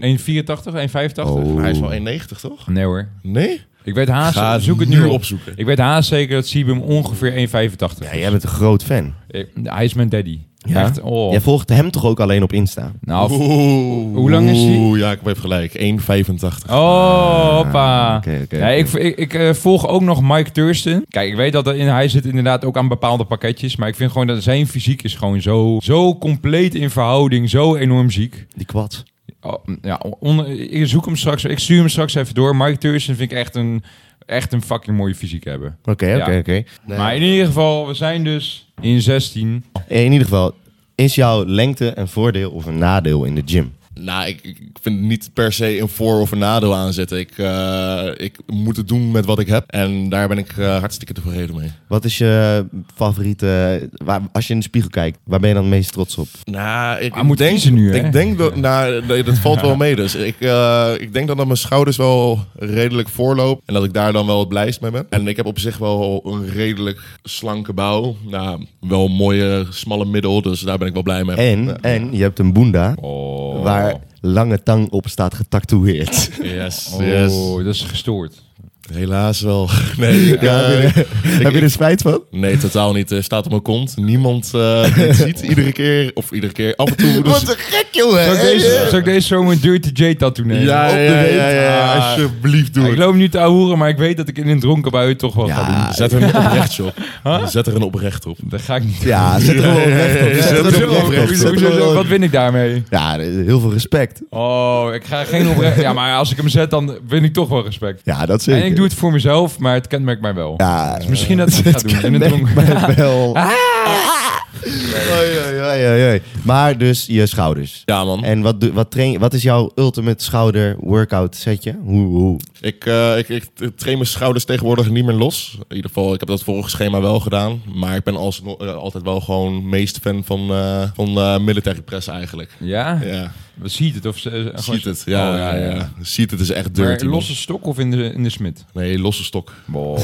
[SPEAKER 3] 1,84, 1,85.
[SPEAKER 1] Oh.
[SPEAKER 4] Hij is wel 1,90 toch?
[SPEAKER 3] Nee hoor.
[SPEAKER 4] Nee?
[SPEAKER 3] Ik weet haast...
[SPEAKER 4] Ga
[SPEAKER 3] zoek het
[SPEAKER 4] nu
[SPEAKER 3] nu op.
[SPEAKER 4] opzoeken.
[SPEAKER 3] Ik weet haast zeker dat Sibum ongeveer 1,85
[SPEAKER 1] Ja, jij bent een groot fan.
[SPEAKER 3] Ik- Hij is Eh, mijn daddy.
[SPEAKER 1] Ja?
[SPEAKER 3] Echt, oh.
[SPEAKER 1] Jij volgt hem toch ook alleen op Insta?
[SPEAKER 3] Nou, f-
[SPEAKER 4] Oeh,
[SPEAKER 3] Hoe lang is die?
[SPEAKER 4] Oeh, Jacob heeft gelijk. 1,85.
[SPEAKER 3] oh, hoppa.
[SPEAKER 1] Ah, oké, oké,
[SPEAKER 3] Nee,
[SPEAKER 1] oké.
[SPEAKER 3] Ik, ik, ik eh, volg ook nog Mike Thurston. Kijk, ik weet dat er in, hij zit inderdaad ook aan bepaalde pakketjes. Maar ik vind gewoon dat zijn fysiek is gewoon zo, zo compleet in verhouding. Zo enorm ziek.
[SPEAKER 1] Die kwad.
[SPEAKER 3] Oh, ja, on- ik zoek hem straks. Ik stuur hem straks even door. Mike Thurston vind ik echt een, echt een fucking mooie fysiek hebben.
[SPEAKER 1] Oké,
[SPEAKER 3] Ja.
[SPEAKER 1] oké, oké.
[SPEAKER 3] Maar in ieder geval, we zijn dus in 16.
[SPEAKER 1] In ieder geval, is jouw lengte een voordeel of een nadeel in de gym?
[SPEAKER 4] Nou, ik, ik vind niet per se een voor- of een nadeel aan zitten. Ik, eh, ik moet het doen met wat ik heb. En daar ben ik eh, hartstikke tevreden mee.
[SPEAKER 1] Wat is je favoriete... Waar, als je in de spiegel kijkt, waar ben je dan het meest trots op?
[SPEAKER 4] Nou, ik,
[SPEAKER 3] Maar moet kiezen nu, hè?
[SPEAKER 4] Ik denk dat, nou, nee, dat valt
[SPEAKER 3] [laughs]
[SPEAKER 4] wel mee dus. Ik, eh, ik denk dan dat mijn schouders wel redelijk voorlopen. En dat ik daar dan wel het blijst mee ben. En ik heb op zich wel een redelijk slanke bouw. Nou, wel een mooie smalle middel, dus daar ben ik wel blij mee.
[SPEAKER 1] En,
[SPEAKER 4] Ja.
[SPEAKER 1] en je hebt een boenda
[SPEAKER 3] Oh.
[SPEAKER 1] waar lange tang op staat
[SPEAKER 3] [laughs]
[SPEAKER 1] getatoeëerd.
[SPEAKER 4] Yes,
[SPEAKER 3] Oh,
[SPEAKER 4] yes.
[SPEAKER 3] dat is gestoord.
[SPEAKER 4] Helaas wel. Nee,
[SPEAKER 3] [laughs]
[SPEAKER 4] ik,
[SPEAKER 1] Ja,
[SPEAKER 4] eh,
[SPEAKER 1] heb je er- heb je er spijt van?
[SPEAKER 4] nee, totaal niet. Eh, staat op mijn kont. Niemand eh, [laughs] die het ziet iedere keer. Of iedere keer. Af en toe. Dus...
[SPEAKER 1] Wat een gek, jongen.
[SPEAKER 3] Zou ik
[SPEAKER 1] Hey,
[SPEAKER 3] deze,
[SPEAKER 1] eh.
[SPEAKER 3] zou ik deze zomer een Dirty J tattoo nemen?
[SPEAKER 4] Ja,
[SPEAKER 1] op de
[SPEAKER 4] ja,
[SPEAKER 1] reet.
[SPEAKER 4] ja, ja,
[SPEAKER 3] Ah.
[SPEAKER 4] Alsjeblieft, doe
[SPEAKER 3] Ik
[SPEAKER 4] het.
[SPEAKER 3] loop nu te ahoeren, maar ik weet dat ik in een dronken bui het toch wel ga doen.
[SPEAKER 1] Ja,
[SPEAKER 4] Zet er een oprecht op. Zet er een oprecht op.
[SPEAKER 3] Dat ga ik niet doen.
[SPEAKER 1] ja, zet er gewoon recht
[SPEAKER 3] [laughs]
[SPEAKER 1] op. Zet er
[SPEAKER 3] Hoezo-
[SPEAKER 1] gewoon recht op.
[SPEAKER 3] hoezo- hoezo- hoezo- Wat win ik daarmee?
[SPEAKER 1] Ja, heel veel respect.
[SPEAKER 3] Oh, ik ga geen oprecht. Ja, maar als ik hem zet, dan win ik toch wel respect.
[SPEAKER 1] Ja, dat zeker.
[SPEAKER 3] En ik doe het voor mezelf, maar het kenmerkt mij wel.
[SPEAKER 1] Ja, [laughs]
[SPEAKER 3] Dus misschien dat ik het ga doen in een
[SPEAKER 1] merk
[SPEAKER 3] dronken
[SPEAKER 1] mij
[SPEAKER 3] [laughs]
[SPEAKER 1] wel. Oei, oei, oei, oei, oei. Maar dus je schouders.
[SPEAKER 4] Ja, man.
[SPEAKER 1] En wat, doe- wat, train, wat is jouw ultimate schouder workout setje? Hoe, hoe?
[SPEAKER 4] Ik, eh, ik, ik train mijn schouders tegenwoordig niet meer los. In ieder geval, ik heb dat vorige schema wel gedaan. Maar ik ben als, eh, altijd wel gewoon meest fan van, eh, van eh, military press eigenlijk.
[SPEAKER 3] Ja?
[SPEAKER 4] Ja,
[SPEAKER 3] We Ziet het? Of ze- ze- gewoon-
[SPEAKER 4] ziet het. Ja,
[SPEAKER 3] Oh,
[SPEAKER 4] ja, ja. Ziet het is echt
[SPEAKER 3] Maar
[SPEAKER 4] dirty. man.
[SPEAKER 3] losse stok of in de, in de smid?
[SPEAKER 4] Nee, losse [laughs] stok.
[SPEAKER 3] stok.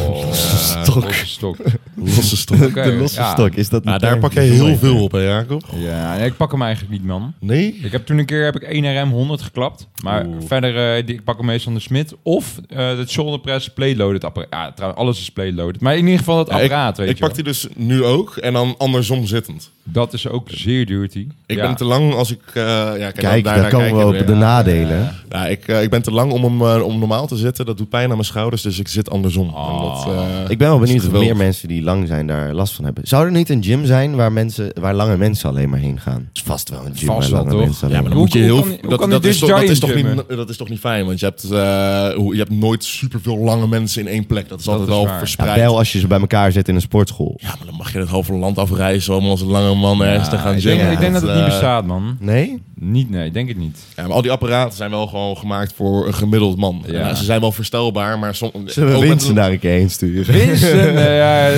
[SPEAKER 3] [laughs] Losse stok.
[SPEAKER 4] Losse stok.
[SPEAKER 3] Oké,
[SPEAKER 1] de losse
[SPEAKER 3] ja.
[SPEAKER 1] stok, is dat
[SPEAKER 4] Ja,
[SPEAKER 1] een
[SPEAKER 4] daar
[SPEAKER 1] term?
[SPEAKER 4] pak je heel veel op, hè Jacob?
[SPEAKER 3] Ja, nee, ik pak hem eigenlijk niet, man.
[SPEAKER 4] Nee?
[SPEAKER 3] Ik heb toen een keer heb ik 1 RM 100 geklapt. Maar
[SPEAKER 4] Oeh.
[SPEAKER 3] verder, eh, die, ik pak hem meestal aan de smid. Of eh dat shoulder press plate-loaded apparaat. Ja, trouwens, alles is plate-loaded. Maar in ieder geval dat
[SPEAKER 4] Ja, ik-
[SPEAKER 3] apparaat, weet
[SPEAKER 4] ik
[SPEAKER 3] je wel.
[SPEAKER 4] pak die dus nu ook en dan andersom zittend.
[SPEAKER 3] Dat is ook zeer dirty.
[SPEAKER 4] Ik
[SPEAKER 3] Ja.
[SPEAKER 4] ben te lang als ik... eh, ja, kijk,
[SPEAKER 1] Kijk,
[SPEAKER 4] daarna
[SPEAKER 1] daar komen
[SPEAKER 4] kijk
[SPEAKER 1] we
[SPEAKER 4] je
[SPEAKER 1] op
[SPEAKER 4] weer.
[SPEAKER 1] de nadelen.
[SPEAKER 4] Ja, ik, eh, ik ben te lang om, hem, eh, om normaal te zitten. Dat doet pijn aan mijn schouders, dus ik zit andersom. En dat, eh,
[SPEAKER 1] Ik ben wel benieuwd
[SPEAKER 4] is
[SPEAKER 1] of
[SPEAKER 4] geweldig.
[SPEAKER 1] meer mensen die lang zijn daar last van hebben. Zou er niet een gym zijn waar, mensen, waar lange mensen alleen maar heen gaan? Is vast wel een gym
[SPEAKER 3] Vast
[SPEAKER 1] waar
[SPEAKER 3] wel,
[SPEAKER 1] lange
[SPEAKER 3] toch?
[SPEAKER 1] mensen alleen
[SPEAKER 3] Ja,
[SPEAKER 1] maar
[SPEAKER 3] maar
[SPEAKER 4] Dan moet je
[SPEAKER 3] Hoe-
[SPEAKER 4] heel,
[SPEAKER 3] hoe kan- hoe
[SPEAKER 4] dat,
[SPEAKER 3] kan
[SPEAKER 4] dat,
[SPEAKER 3] die dus
[SPEAKER 4] is toch, dat, is
[SPEAKER 3] Giant
[SPEAKER 4] toch
[SPEAKER 3] Jummen?
[SPEAKER 4] niet, dat is toch niet fijn, want je hebt, eh, hoe- je hebt nooit superveel lange mensen in één plek. Dat is altijd
[SPEAKER 3] is
[SPEAKER 4] wel
[SPEAKER 3] waar.
[SPEAKER 1] Ja,
[SPEAKER 4] verspreid. Ja,
[SPEAKER 1] wel als je ze bij elkaar zet in een sportschool.
[SPEAKER 4] maar dan mag je het halve land afreizen om als een lange man ergens te gaan
[SPEAKER 3] ik denk,
[SPEAKER 4] gymmen.
[SPEAKER 3] ik denk dat het niet
[SPEAKER 4] eh,
[SPEAKER 3] bestaat, man.
[SPEAKER 1] Nee?
[SPEAKER 3] Niet, nee, ik denk het niet.
[SPEAKER 4] Ja, maar al die apparaten zijn wel gewoon gemaakt voor een gemiddeld man.
[SPEAKER 3] Ja.
[SPEAKER 4] Ja, ze zijn wel verstelbaar, maar soms...
[SPEAKER 1] Zullen
[SPEAKER 4] ook
[SPEAKER 1] we
[SPEAKER 4] met
[SPEAKER 1] Winston
[SPEAKER 4] een-
[SPEAKER 1] daar een keer heen sturen?
[SPEAKER 3] Winston, eh, ja.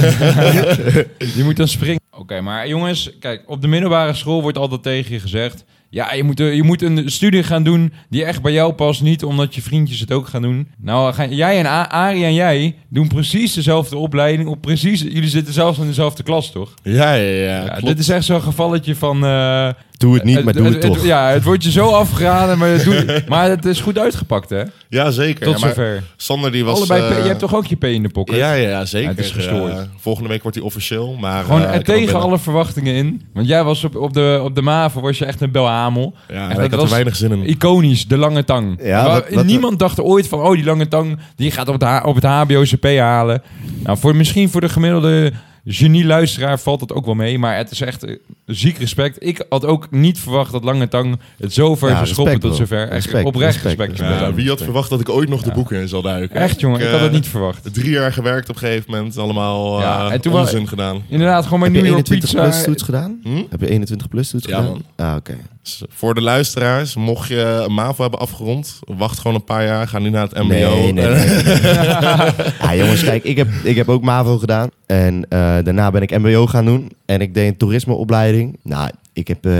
[SPEAKER 3] Je moet dan springen. Oké, maar jongens, kijk, op de middelbare school wordt altijd tegen je gezegd... Ja, je moet, eh, je moet een studie gaan doen die echt bij jou past. Niet omdat je vriendjes het ook gaan doen. Nou, gaan, jij en A- Arie en jij doen precies dezelfde opleiding. Op precies, jullie zitten zelfs in dezelfde klas, toch?
[SPEAKER 4] Ja, ja, ja.
[SPEAKER 3] Ja,
[SPEAKER 4] klopt.
[SPEAKER 3] dit is echt zo'n gevalletje van... eh,
[SPEAKER 1] Doe het niet, maar eh, doe het toch.
[SPEAKER 3] Ja, het wordt je zo afgeraden, maar, het doet- maar het is goed uitgepakt, hè?
[SPEAKER 4] ja zeker.
[SPEAKER 3] Tot
[SPEAKER 4] Ja, maar
[SPEAKER 3] zover.
[SPEAKER 4] Sander die was...
[SPEAKER 3] Allebei,
[SPEAKER 4] eh,
[SPEAKER 3] P- je hebt toch ook je P in de pocket?
[SPEAKER 4] Ja, ja, ja, zeker.
[SPEAKER 3] Ja, het is gestoord.
[SPEAKER 4] Eh, volgende week wordt hij officieel, maar...
[SPEAKER 3] Gewoon
[SPEAKER 4] eh,
[SPEAKER 3] eh,
[SPEAKER 4] ik kan
[SPEAKER 3] tegen
[SPEAKER 4] wel
[SPEAKER 3] alle verwachtingen in. Want jij was op, op, de, op de MAVO was je echt een belhamel.
[SPEAKER 4] binnen. Ja,
[SPEAKER 3] En
[SPEAKER 4] en ik had er
[SPEAKER 3] was
[SPEAKER 4] weinig zin in.
[SPEAKER 3] Iconisch, de lange tang.
[SPEAKER 1] Ja,
[SPEAKER 3] Waar-
[SPEAKER 1] wat- wat-
[SPEAKER 3] niemand dacht ooit van, oh, die lange tang, die gaat op het, H- op het HBO-CP halen. Nou, voor, misschien voor de gemiddelde genie-luisteraar valt dat ook wel mee. Maar het is echt eh, ziek respect. Ik had ook niet verwacht dat lange tang het zo ver
[SPEAKER 1] Ja,
[SPEAKER 3] zou schoppen
[SPEAKER 1] respect,
[SPEAKER 3] tot
[SPEAKER 1] bro.
[SPEAKER 3] zover. Echt
[SPEAKER 1] Respect,
[SPEAKER 3] oprecht respect.
[SPEAKER 1] respect,
[SPEAKER 3] respect.
[SPEAKER 4] Ja, wie had verwacht dat ik ooit nog de boeken in zal duiken?
[SPEAKER 3] Echt, jongen, ik had
[SPEAKER 4] eh,
[SPEAKER 3] dat niet verwacht.
[SPEAKER 4] Drie jaar gewerkt op een gegeven moment, allemaal eh
[SPEAKER 3] Ja, en toen
[SPEAKER 4] onzin gedaan.
[SPEAKER 3] Inderdaad, gewoon mijn
[SPEAKER 1] Heb je
[SPEAKER 3] New York
[SPEAKER 1] 21
[SPEAKER 3] pizza.
[SPEAKER 1] plus toets gedaan?
[SPEAKER 4] Hm?
[SPEAKER 1] Heb je 21 plus toets
[SPEAKER 4] Ja,
[SPEAKER 1] gedaan?
[SPEAKER 4] man.
[SPEAKER 1] Ah, oké.
[SPEAKER 4] Dus voor de luisteraars, mocht je een MAVO hebben afgerond, wacht gewoon een paar jaar, ga nu naar het MBO.
[SPEAKER 1] Nee, nee, nee. ja, jongens, kijk, ik heb, ik heb ook MAVO gedaan. En eh, daarna ben ik MBO gaan doen. En ik deed een toerismeopleiding. Nou, ik heb eh,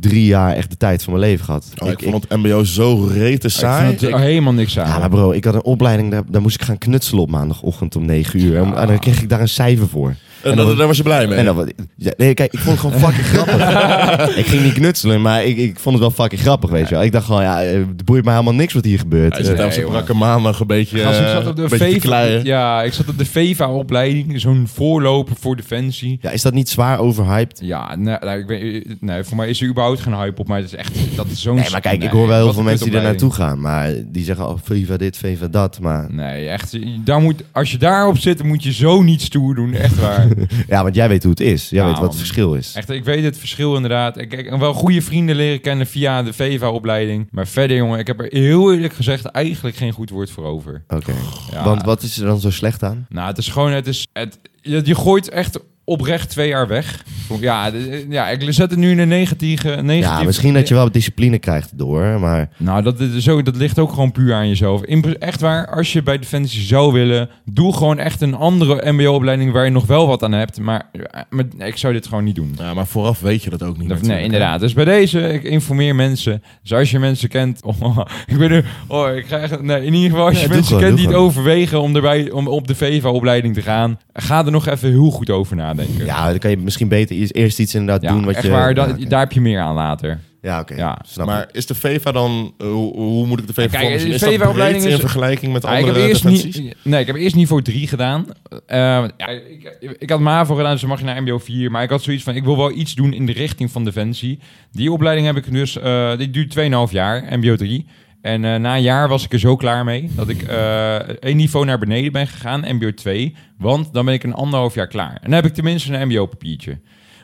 [SPEAKER 1] drie jaar echt de tijd van mijn leven gehad.
[SPEAKER 4] [laughs] Oh, ik vond het MBO zo rete
[SPEAKER 3] Ik
[SPEAKER 4] saai.
[SPEAKER 3] vind het helemaal niks aan.
[SPEAKER 1] Ja, maar bro, ik had een opleiding, daar, daar moest ik gaan knutselen op maandagochtend om 9 uur. En, en dan kreeg ik daar een cijfer voor.
[SPEAKER 4] En dat, daar was je blij mee.
[SPEAKER 1] En dan, wat- ja, nee, kijk, ik vond het gewoon
[SPEAKER 4] [laughs]
[SPEAKER 1] fucking grappig. ik ging niet knutselen, maar ik, ik vond het wel fucking grappig, weet je wel. Ik dacht gewoon, ja, eh, het boeit me helemaal niks wat hier gebeurt.
[SPEAKER 4] Hij zit
[SPEAKER 1] Eh,
[SPEAKER 4] daar op zijn brakke maandag een beetje,
[SPEAKER 3] Gast, ik
[SPEAKER 4] eh,
[SPEAKER 3] zat op
[SPEAKER 4] een
[SPEAKER 3] de
[SPEAKER 4] beetje te
[SPEAKER 3] VEVA.
[SPEAKER 4] kleien.
[SPEAKER 3] Ja, ik zat op de VEVA-opleiding. Zo'n voorloper voor Defensie.
[SPEAKER 1] ja, is dat niet zwaar overhyped?
[SPEAKER 3] Ja, nou, nou, ik ben, nee, voor mij is er überhaupt geen hype op. Maar het is echt, dat is zo'n...
[SPEAKER 1] Nee, maar kijk, ik
[SPEAKER 3] nee,
[SPEAKER 1] hoor wel heel
[SPEAKER 3] wat
[SPEAKER 1] veel
[SPEAKER 3] een
[SPEAKER 1] mensen die daar
[SPEAKER 3] kutopleiding.
[SPEAKER 1] naartoe gaan. Maar die zeggen, oh, Viva dit, Viva dat. Maar
[SPEAKER 3] Nee, echt. Daar moet, als je daarop zit, dan moet je zo niet stoer doen.
[SPEAKER 1] [laughs]
[SPEAKER 3] Echt waar.
[SPEAKER 1] ja, want jij weet hoe het is. Jij
[SPEAKER 3] Ja,
[SPEAKER 1] weet wat
[SPEAKER 3] man.
[SPEAKER 1] het verschil is.
[SPEAKER 3] echt, ik weet het verschil inderdaad. Ik ik heb wel goede vrienden leren kennen via de VEVA-opleiding. Maar verder, jongen, ik heb er heel eerlijk gezegd eigenlijk geen goed woord voor over.
[SPEAKER 1] Oké.
[SPEAKER 3] Ja.
[SPEAKER 1] Want wat is er dan zo slecht aan?
[SPEAKER 3] Nou, het is gewoon, het is, het, je, je gooit echt oprecht twee jaar weg. Ja, d- ja ik zet het nu in een negatieve... negatieve
[SPEAKER 1] Ja, misschien dat je wel discipline krijgt door, maar
[SPEAKER 3] Nou, dat, is zo, dat ligt ook gewoon puur aan jezelf. In, pre- echt waar, als je bij Defensie zou willen, doe gewoon echt een andere mbo-opleiding waar je nog wel wat aan hebt. Maar, eh, maar ik zou dit gewoon niet doen.
[SPEAKER 4] Ja, maar vooraf weet je dat ook
[SPEAKER 3] Dat-
[SPEAKER 4] niet.
[SPEAKER 3] nee,
[SPEAKER 4] natuurlijk, hè.
[SPEAKER 3] inderdaad. Dus bij deze, ik informeer mensen. Dus als je mensen kent, [laughs] oh, ik ben nu, oh, ik krijg, nee, in ieder geval als
[SPEAKER 1] Nee,
[SPEAKER 3] je
[SPEAKER 1] doe
[SPEAKER 3] mensen
[SPEAKER 1] gewoon,
[SPEAKER 3] kent
[SPEAKER 1] doe
[SPEAKER 3] die het
[SPEAKER 1] gewoon.
[SPEAKER 3] overwegen om, erbij, om op de VEVA-opleiding te gaan, ga er nog even heel goed over nadenken.
[SPEAKER 1] ja, dan kan je misschien beter eerst- eerst iets inderdaad
[SPEAKER 3] Ja,
[SPEAKER 1] doen wat
[SPEAKER 3] echt
[SPEAKER 1] je...
[SPEAKER 3] waar, dat-
[SPEAKER 1] ja, oké.
[SPEAKER 3] daar heb je meer aan later.
[SPEAKER 1] Ja, oké,
[SPEAKER 3] Ja.
[SPEAKER 1] snap ik.
[SPEAKER 4] Nou, Maar is de VEVA dan... eh, hoe, hoe moet ik de VEVA
[SPEAKER 3] Kijk,
[SPEAKER 4] vormen zien?
[SPEAKER 3] de
[SPEAKER 4] Is dat
[SPEAKER 3] VEVA-opleiding
[SPEAKER 4] breed in
[SPEAKER 3] is-
[SPEAKER 4] vergelijking met
[SPEAKER 3] Ja,
[SPEAKER 4] andere
[SPEAKER 3] ik heb eerst
[SPEAKER 4] defensies?
[SPEAKER 3] niet, Nee, ik heb eerst niveau 3 gedaan. Eh, ja, ik, ik had MAVO gedaan, dus dan mag je naar MBO 4. Maar ik had zoiets van, ik wil wel iets doen in de richting van Defensie. Die opleiding heb ik dus, eh, die duurt 2,5 jaar, MBO 3. En eh, na een jaar was ik er zo klaar mee dat ik eh één niveau naar beneden ben gegaan, MBO 2. Want dan ben ik een anderhalf jaar klaar. En dan heb ik tenminste een MBO-papiertje.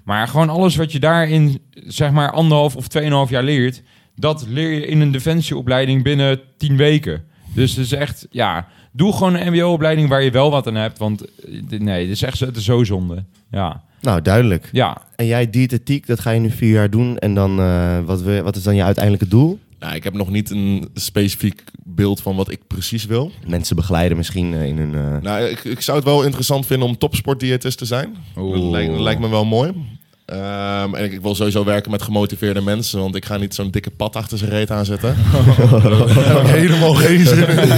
[SPEAKER 3] Maar gewoon alles wat je daarin, zeg maar, anderhalf of 2,5 jaar leert, dat leer je in een defensieopleiding binnen 10 weken. Dus het is echt, ja, doe gewoon een MBO-opleiding waar je wel wat aan hebt. Want eh, dit- nee, het is echt zo- het is zo zonde. Ja,
[SPEAKER 1] Nou, duidelijk.
[SPEAKER 3] ja.
[SPEAKER 1] En jij diëtetiek, dat ga je nu vier jaar doen. En dan, eh, wat, we, wat is dan je uiteindelijke doel?
[SPEAKER 4] Nou, ik heb nog niet een specifiek beeld van wat ik precies wil.
[SPEAKER 1] Mensen begeleiden misschien eh, in hun... eh,
[SPEAKER 3] [laughs]
[SPEAKER 4] Nou, ik, ik zou het wel interessant vinden om topsportdiëtist te zijn. Dat lijkt, dat lijkt me wel mooi. Ehm, en ik, ik wil sowieso werken met gemotiveerde mensen, want ik ga niet zo'n dikke pad achter zijn reet [laughs] aanzetten. Daar heb ik helemaal geen zin in.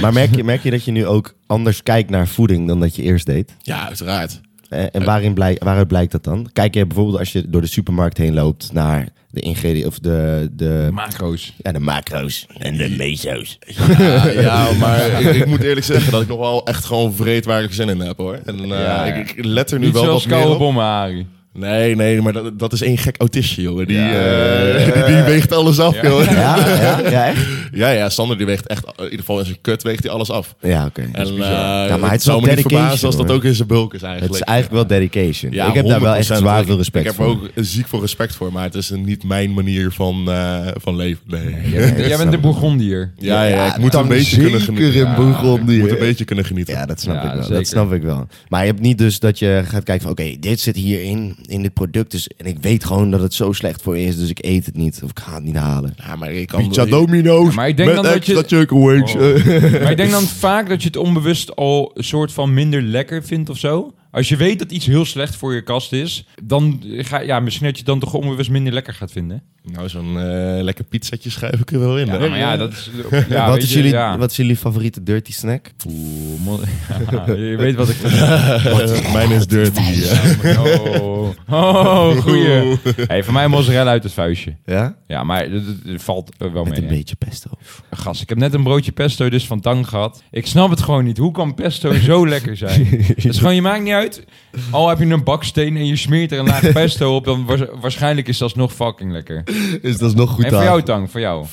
[SPEAKER 1] Maar merk je, merk je dat je nu ook anders kijkt naar voeding dan dat je eerst deed?
[SPEAKER 4] Ja, uiteraard.
[SPEAKER 1] Eh, En waarin blij, waaruit blijkt dat dan? Kijk je bijvoorbeeld als je door de supermarkt heen loopt naar de ingrediënten of de, de,
[SPEAKER 3] [laughs] Macro's.
[SPEAKER 1] ja, de macro's en de meso's.
[SPEAKER 3] [laughs]
[SPEAKER 4] Ja, Ah, ja, maar ik, ik moet eerlijk zeggen dat ik nog wel echt gewoon vreed waar ik zin in heb hoor. En eh,
[SPEAKER 3] Ja, ja.
[SPEAKER 4] Ik, ik let er nu
[SPEAKER 3] Niet
[SPEAKER 4] wel wat
[SPEAKER 3] zoals
[SPEAKER 4] meer
[SPEAKER 3] koude
[SPEAKER 4] op.
[SPEAKER 3] bommen, Harry.
[SPEAKER 4] Nee, nee, maar dat, dat is één gek autistje, joh. Die, eh, [laughs] die, die weegt alles af, joh.
[SPEAKER 1] Ja, ja, ja, echt?
[SPEAKER 4] Ja, ja, Sander die weegt echt, in ieder geval in zijn kut weegt hij alles af.
[SPEAKER 1] Ja, oké.
[SPEAKER 4] En, eh,
[SPEAKER 1] maar het
[SPEAKER 4] het
[SPEAKER 1] is
[SPEAKER 4] zou
[SPEAKER 1] wel
[SPEAKER 4] me niet verbazen
[SPEAKER 1] dedication,
[SPEAKER 4] als dat
[SPEAKER 1] hoor.
[SPEAKER 4] ook in zijn bulk is
[SPEAKER 1] Het is
[SPEAKER 4] eigenlijk.
[SPEAKER 1] eigenlijk wel dedication.
[SPEAKER 4] Ja,
[SPEAKER 1] ik heb daar wel echt
[SPEAKER 4] 100%.
[SPEAKER 1] zwaar
[SPEAKER 4] Ik-
[SPEAKER 1] veel respect
[SPEAKER 4] Ik heb
[SPEAKER 1] voor.
[SPEAKER 4] er ook ziek veel respect voor, maar het is niet mijn manier van, eh, van leven. Nee.
[SPEAKER 1] Ja, dat
[SPEAKER 3] Jij
[SPEAKER 1] snap
[SPEAKER 3] bent de
[SPEAKER 1] ik.
[SPEAKER 3] Bourgondier.
[SPEAKER 4] Ja, ja, ik moet een beetje kunnen genieten.
[SPEAKER 1] Zeker in
[SPEAKER 4] Ja,
[SPEAKER 1] Bourgondië.
[SPEAKER 4] ik moet een beetje kunnen genieten.
[SPEAKER 1] Ja, dat snap
[SPEAKER 3] Ja,
[SPEAKER 1] ik wel.
[SPEAKER 3] zeker.
[SPEAKER 1] Dat snap ik wel. Maar je hebt niet dus dat je gaat kijken van... oké, dit zit hierin, in dit product. Dus, en ik weet gewoon dat het zo slecht voor je is... dus ik eet het niet of ik ga het niet halen.
[SPEAKER 4] Ja, maar ik kan...
[SPEAKER 1] Pizza Domino's
[SPEAKER 3] Maar ik denk
[SPEAKER 1] met
[SPEAKER 3] dan dat je-
[SPEAKER 1] extra E. chicken wings.
[SPEAKER 3] Oh. Maar ik denk dan vaak dat je het onbewust al een soort van minder lekker vindt of zo. Als je weet dat iets heel slecht voor je kast is, dan ga ja, misschien dat je het dan toch onbewust minder lekker gaat vinden.
[SPEAKER 4] Nou, zo'n eh, lekker pizzetje schuif ik er wel in.
[SPEAKER 3] Ja,
[SPEAKER 4] hè?
[SPEAKER 3] maar ja,
[SPEAKER 4] [laughs]
[SPEAKER 3] dat is. Ja,
[SPEAKER 1] wat,
[SPEAKER 3] weet
[SPEAKER 1] is
[SPEAKER 3] je,
[SPEAKER 1] jullie,
[SPEAKER 3] ja.
[SPEAKER 1] wat is jullie favoriete dirty snack?
[SPEAKER 3] Oeh, mo- [laughs] ja, je weet wat ik.
[SPEAKER 4] Mijn is
[SPEAKER 3] [laughs]
[SPEAKER 4] dirty. eh. ja.
[SPEAKER 3] Oh, oh goeie. Hey, van mij mozzarella uit het vuistje.
[SPEAKER 1] Ja?
[SPEAKER 3] Ja, maar dat- dat dat valt eh, wel
[SPEAKER 1] Met
[SPEAKER 3] mee.
[SPEAKER 1] een
[SPEAKER 3] hè.
[SPEAKER 1] beetje pesto.
[SPEAKER 3] Gast, ik heb net een broodje pesto dus van Tang gehad. Ik snap het gewoon niet. Hoe kan pesto
[SPEAKER 1] [laughs]
[SPEAKER 3] zo lekker zijn? Het is gewoon, je maakt niet uit. Al heb je een baksteen en je smeert er een laag pesto op, dan waars- waarschijnlijk is dat nog fucking lekker.
[SPEAKER 1] Is dat nog goed
[SPEAKER 3] en voor jou, Tang, voor jou.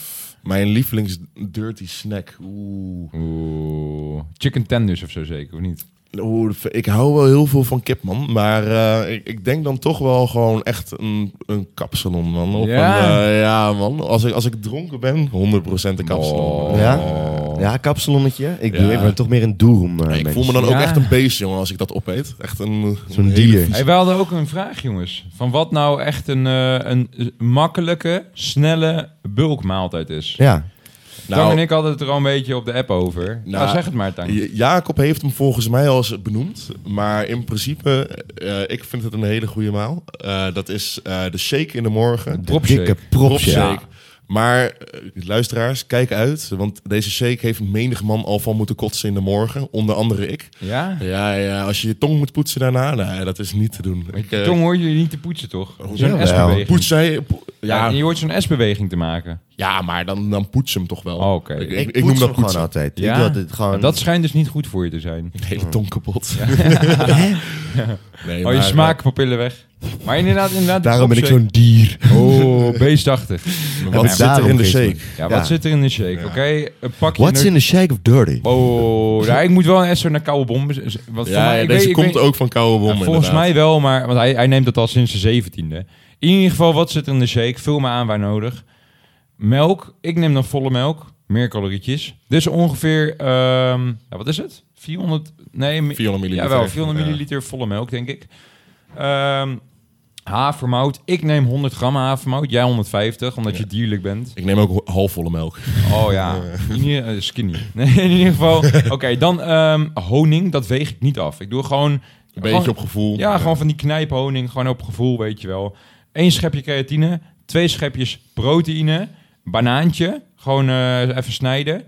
[SPEAKER 4] Mijn lievelings dirty snack. Oeh.
[SPEAKER 3] Oeh, chicken tenders of zo zeker, of
[SPEAKER 1] Oh.
[SPEAKER 3] niet?
[SPEAKER 4] Oeh, ik hou wel heel veel van kip, man. Maar eh, ik, ik denk dan toch wel gewoon echt een, een kapsalon, man. Of
[SPEAKER 3] Ja.
[SPEAKER 4] een, eh, ja, man. Als ik, als ik dronken ben, 100% een kapsalon. man.
[SPEAKER 1] Oh. Ja?
[SPEAKER 3] Oh.
[SPEAKER 1] Ja, kapsalonnetje. Ik, doe,
[SPEAKER 4] Ja.
[SPEAKER 1] ik ben toch meer een doom eh,
[SPEAKER 4] ik
[SPEAKER 1] mens.
[SPEAKER 4] voel me dan ook
[SPEAKER 3] Ja.
[SPEAKER 4] echt een beest, jongen, als ik dat opeet. Echt een...
[SPEAKER 1] Zo'n
[SPEAKER 4] een hele
[SPEAKER 1] dier.
[SPEAKER 4] vieze-
[SPEAKER 3] Hey, wij hadden ook een vraag, jongens. Van wat nou echt een, eh, een makkelijke, snelle bulkmaaltijd is.
[SPEAKER 1] Ja.
[SPEAKER 3] Tang
[SPEAKER 4] Nou,
[SPEAKER 3] en ik hadden het er al een beetje op de app over. Nou,
[SPEAKER 4] Nou,
[SPEAKER 3] zeg het maar, Tang.
[SPEAKER 4] J- Jacob heeft hem volgens mij al eens benoemd. Maar in principe, eh, ik vind het een hele goede maal. Eh, dat is eh, de shake in de morgen.
[SPEAKER 3] Propshake.
[SPEAKER 1] Dikke propje.
[SPEAKER 4] Propshake.
[SPEAKER 3] Ja.
[SPEAKER 4] Maar eh, luisteraars, kijk uit. Want deze shake heeft menig man al van moeten kotsen in de morgen. Onder andere ik.
[SPEAKER 3] Ja?
[SPEAKER 4] Ja, ja als je je tong moet poetsen daarna, nou, dat is niet te doen. Ik,
[SPEAKER 3] Je
[SPEAKER 4] eh,
[SPEAKER 3] tong hoor je niet te poetsen, toch? Zo'n
[SPEAKER 1] jawel.
[SPEAKER 3] S-beweging.
[SPEAKER 4] Poets zij... po-
[SPEAKER 3] Ja,
[SPEAKER 4] Nou, ja,
[SPEAKER 3] en
[SPEAKER 4] ja,
[SPEAKER 3] je hoort zo'n S-beweging te maken.
[SPEAKER 4] maar dan, dan poets hem toch wel.
[SPEAKER 3] Oh, oké.
[SPEAKER 4] Ik, ik-
[SPEAKER 1] Ik,
[SPEAKER 4] ik noem dat
[SPEAKER 1] gewoon
[SPEAKER 4] poetsen.
[SPEAKER 1] altijd.
[SPEAKER 3] Ja?
[SPEAKER 1] Ik doe altijd gewoon...
[SPEAKER 3] En dat schijnt dus niet goed voor je te zijn.
[SPEAKER 4] De hele tong kapot. [laughs] nee,
[SPEAKER 3] Oh, je
[SPEAKER 4] maar, eh,
[SPEAKER 3] smaakpapillen weg. Maar inderdaad, inderdaad.
[SPEAKER 1] Daarom ben ik
[SPEAKER 3] opzet-
[SPEAKER 1] zo'n dier. [laughs]
[SPEAKER 3] Oh, beestachtig.
[SPEAKER 4] Wat
[SPEAKER 1] het
[SPEAKER 4] zit er
[SPEAKER 1] daarom
[SPEAKER 4] in de
[SPEAKER 1] geeft me.
[SPEAKER 4] shake?
[SPEAKER 3] Ja, wat
[SPEAKER 1] Ja.
[SPEAKER 3] zit er in de shake? Oké, een pakje...
[SPEAKER 1] What's in the shake of dirty?
[SPEAKER 3] Oh, nou, ik moet wel een S naar koude bom. Want voor
[SPEAKER 4] Ja,
[SPEAKER 3] mij,
[SPEAKER 4] ja,
[SPEAKER 3] ik
[SPEAKER 4] deze
[SPEAKER 3] weet- ik
[SPEAKER 4] komt
[SPEAKER 3] weet-
[SPEAKER 4] ook van koude bommen.
[SPEAKER 3] Ja, volgens mij wel, maar want hij, hij neemt dat al sinds de 17e. In ieder geval, wat zit er in de shake? Vul me aan waar nodig. Melk, ik neem dan volle melk. meer calorietjes. Dus ongeveer, ehm, ja, wat is het? 400, nee, mi-
[SPEAKER 4] 400 milliliter.
[SPEAKER 3] Jawel, 400
[SPEAKER 4] Ja.
[SPEAKER 3] milliliter volle melk, denk ik. Ehm havermout. Ik neem 100 gram havermout. Jij 150, omdat je dierlijk bent.
[SPEAKER 4] Ik neem ook ho- halfvolle melk.
[SPEAKER 3] Oh
[SPEAKER 4] [laughs]
[SPEAKER 3] ja, in ieder, eh, skinny. [laughs] Nee, in ieder geval. Oké, dan ehm, honing. Dat weeg ik niet af. Ik doe gewoon...
[SPEAKER 4] Een
[SPEAKER 3] gewoon-
[SPEAKER 4] beetje op gevoel.
[SPEAKER 3] ja, gewoon van die knijphoning, gewoon op gevoel, weet je wel. Eén schepje creatine, twee schepjes proteïne, banaantje, gewoon eh, even snijden.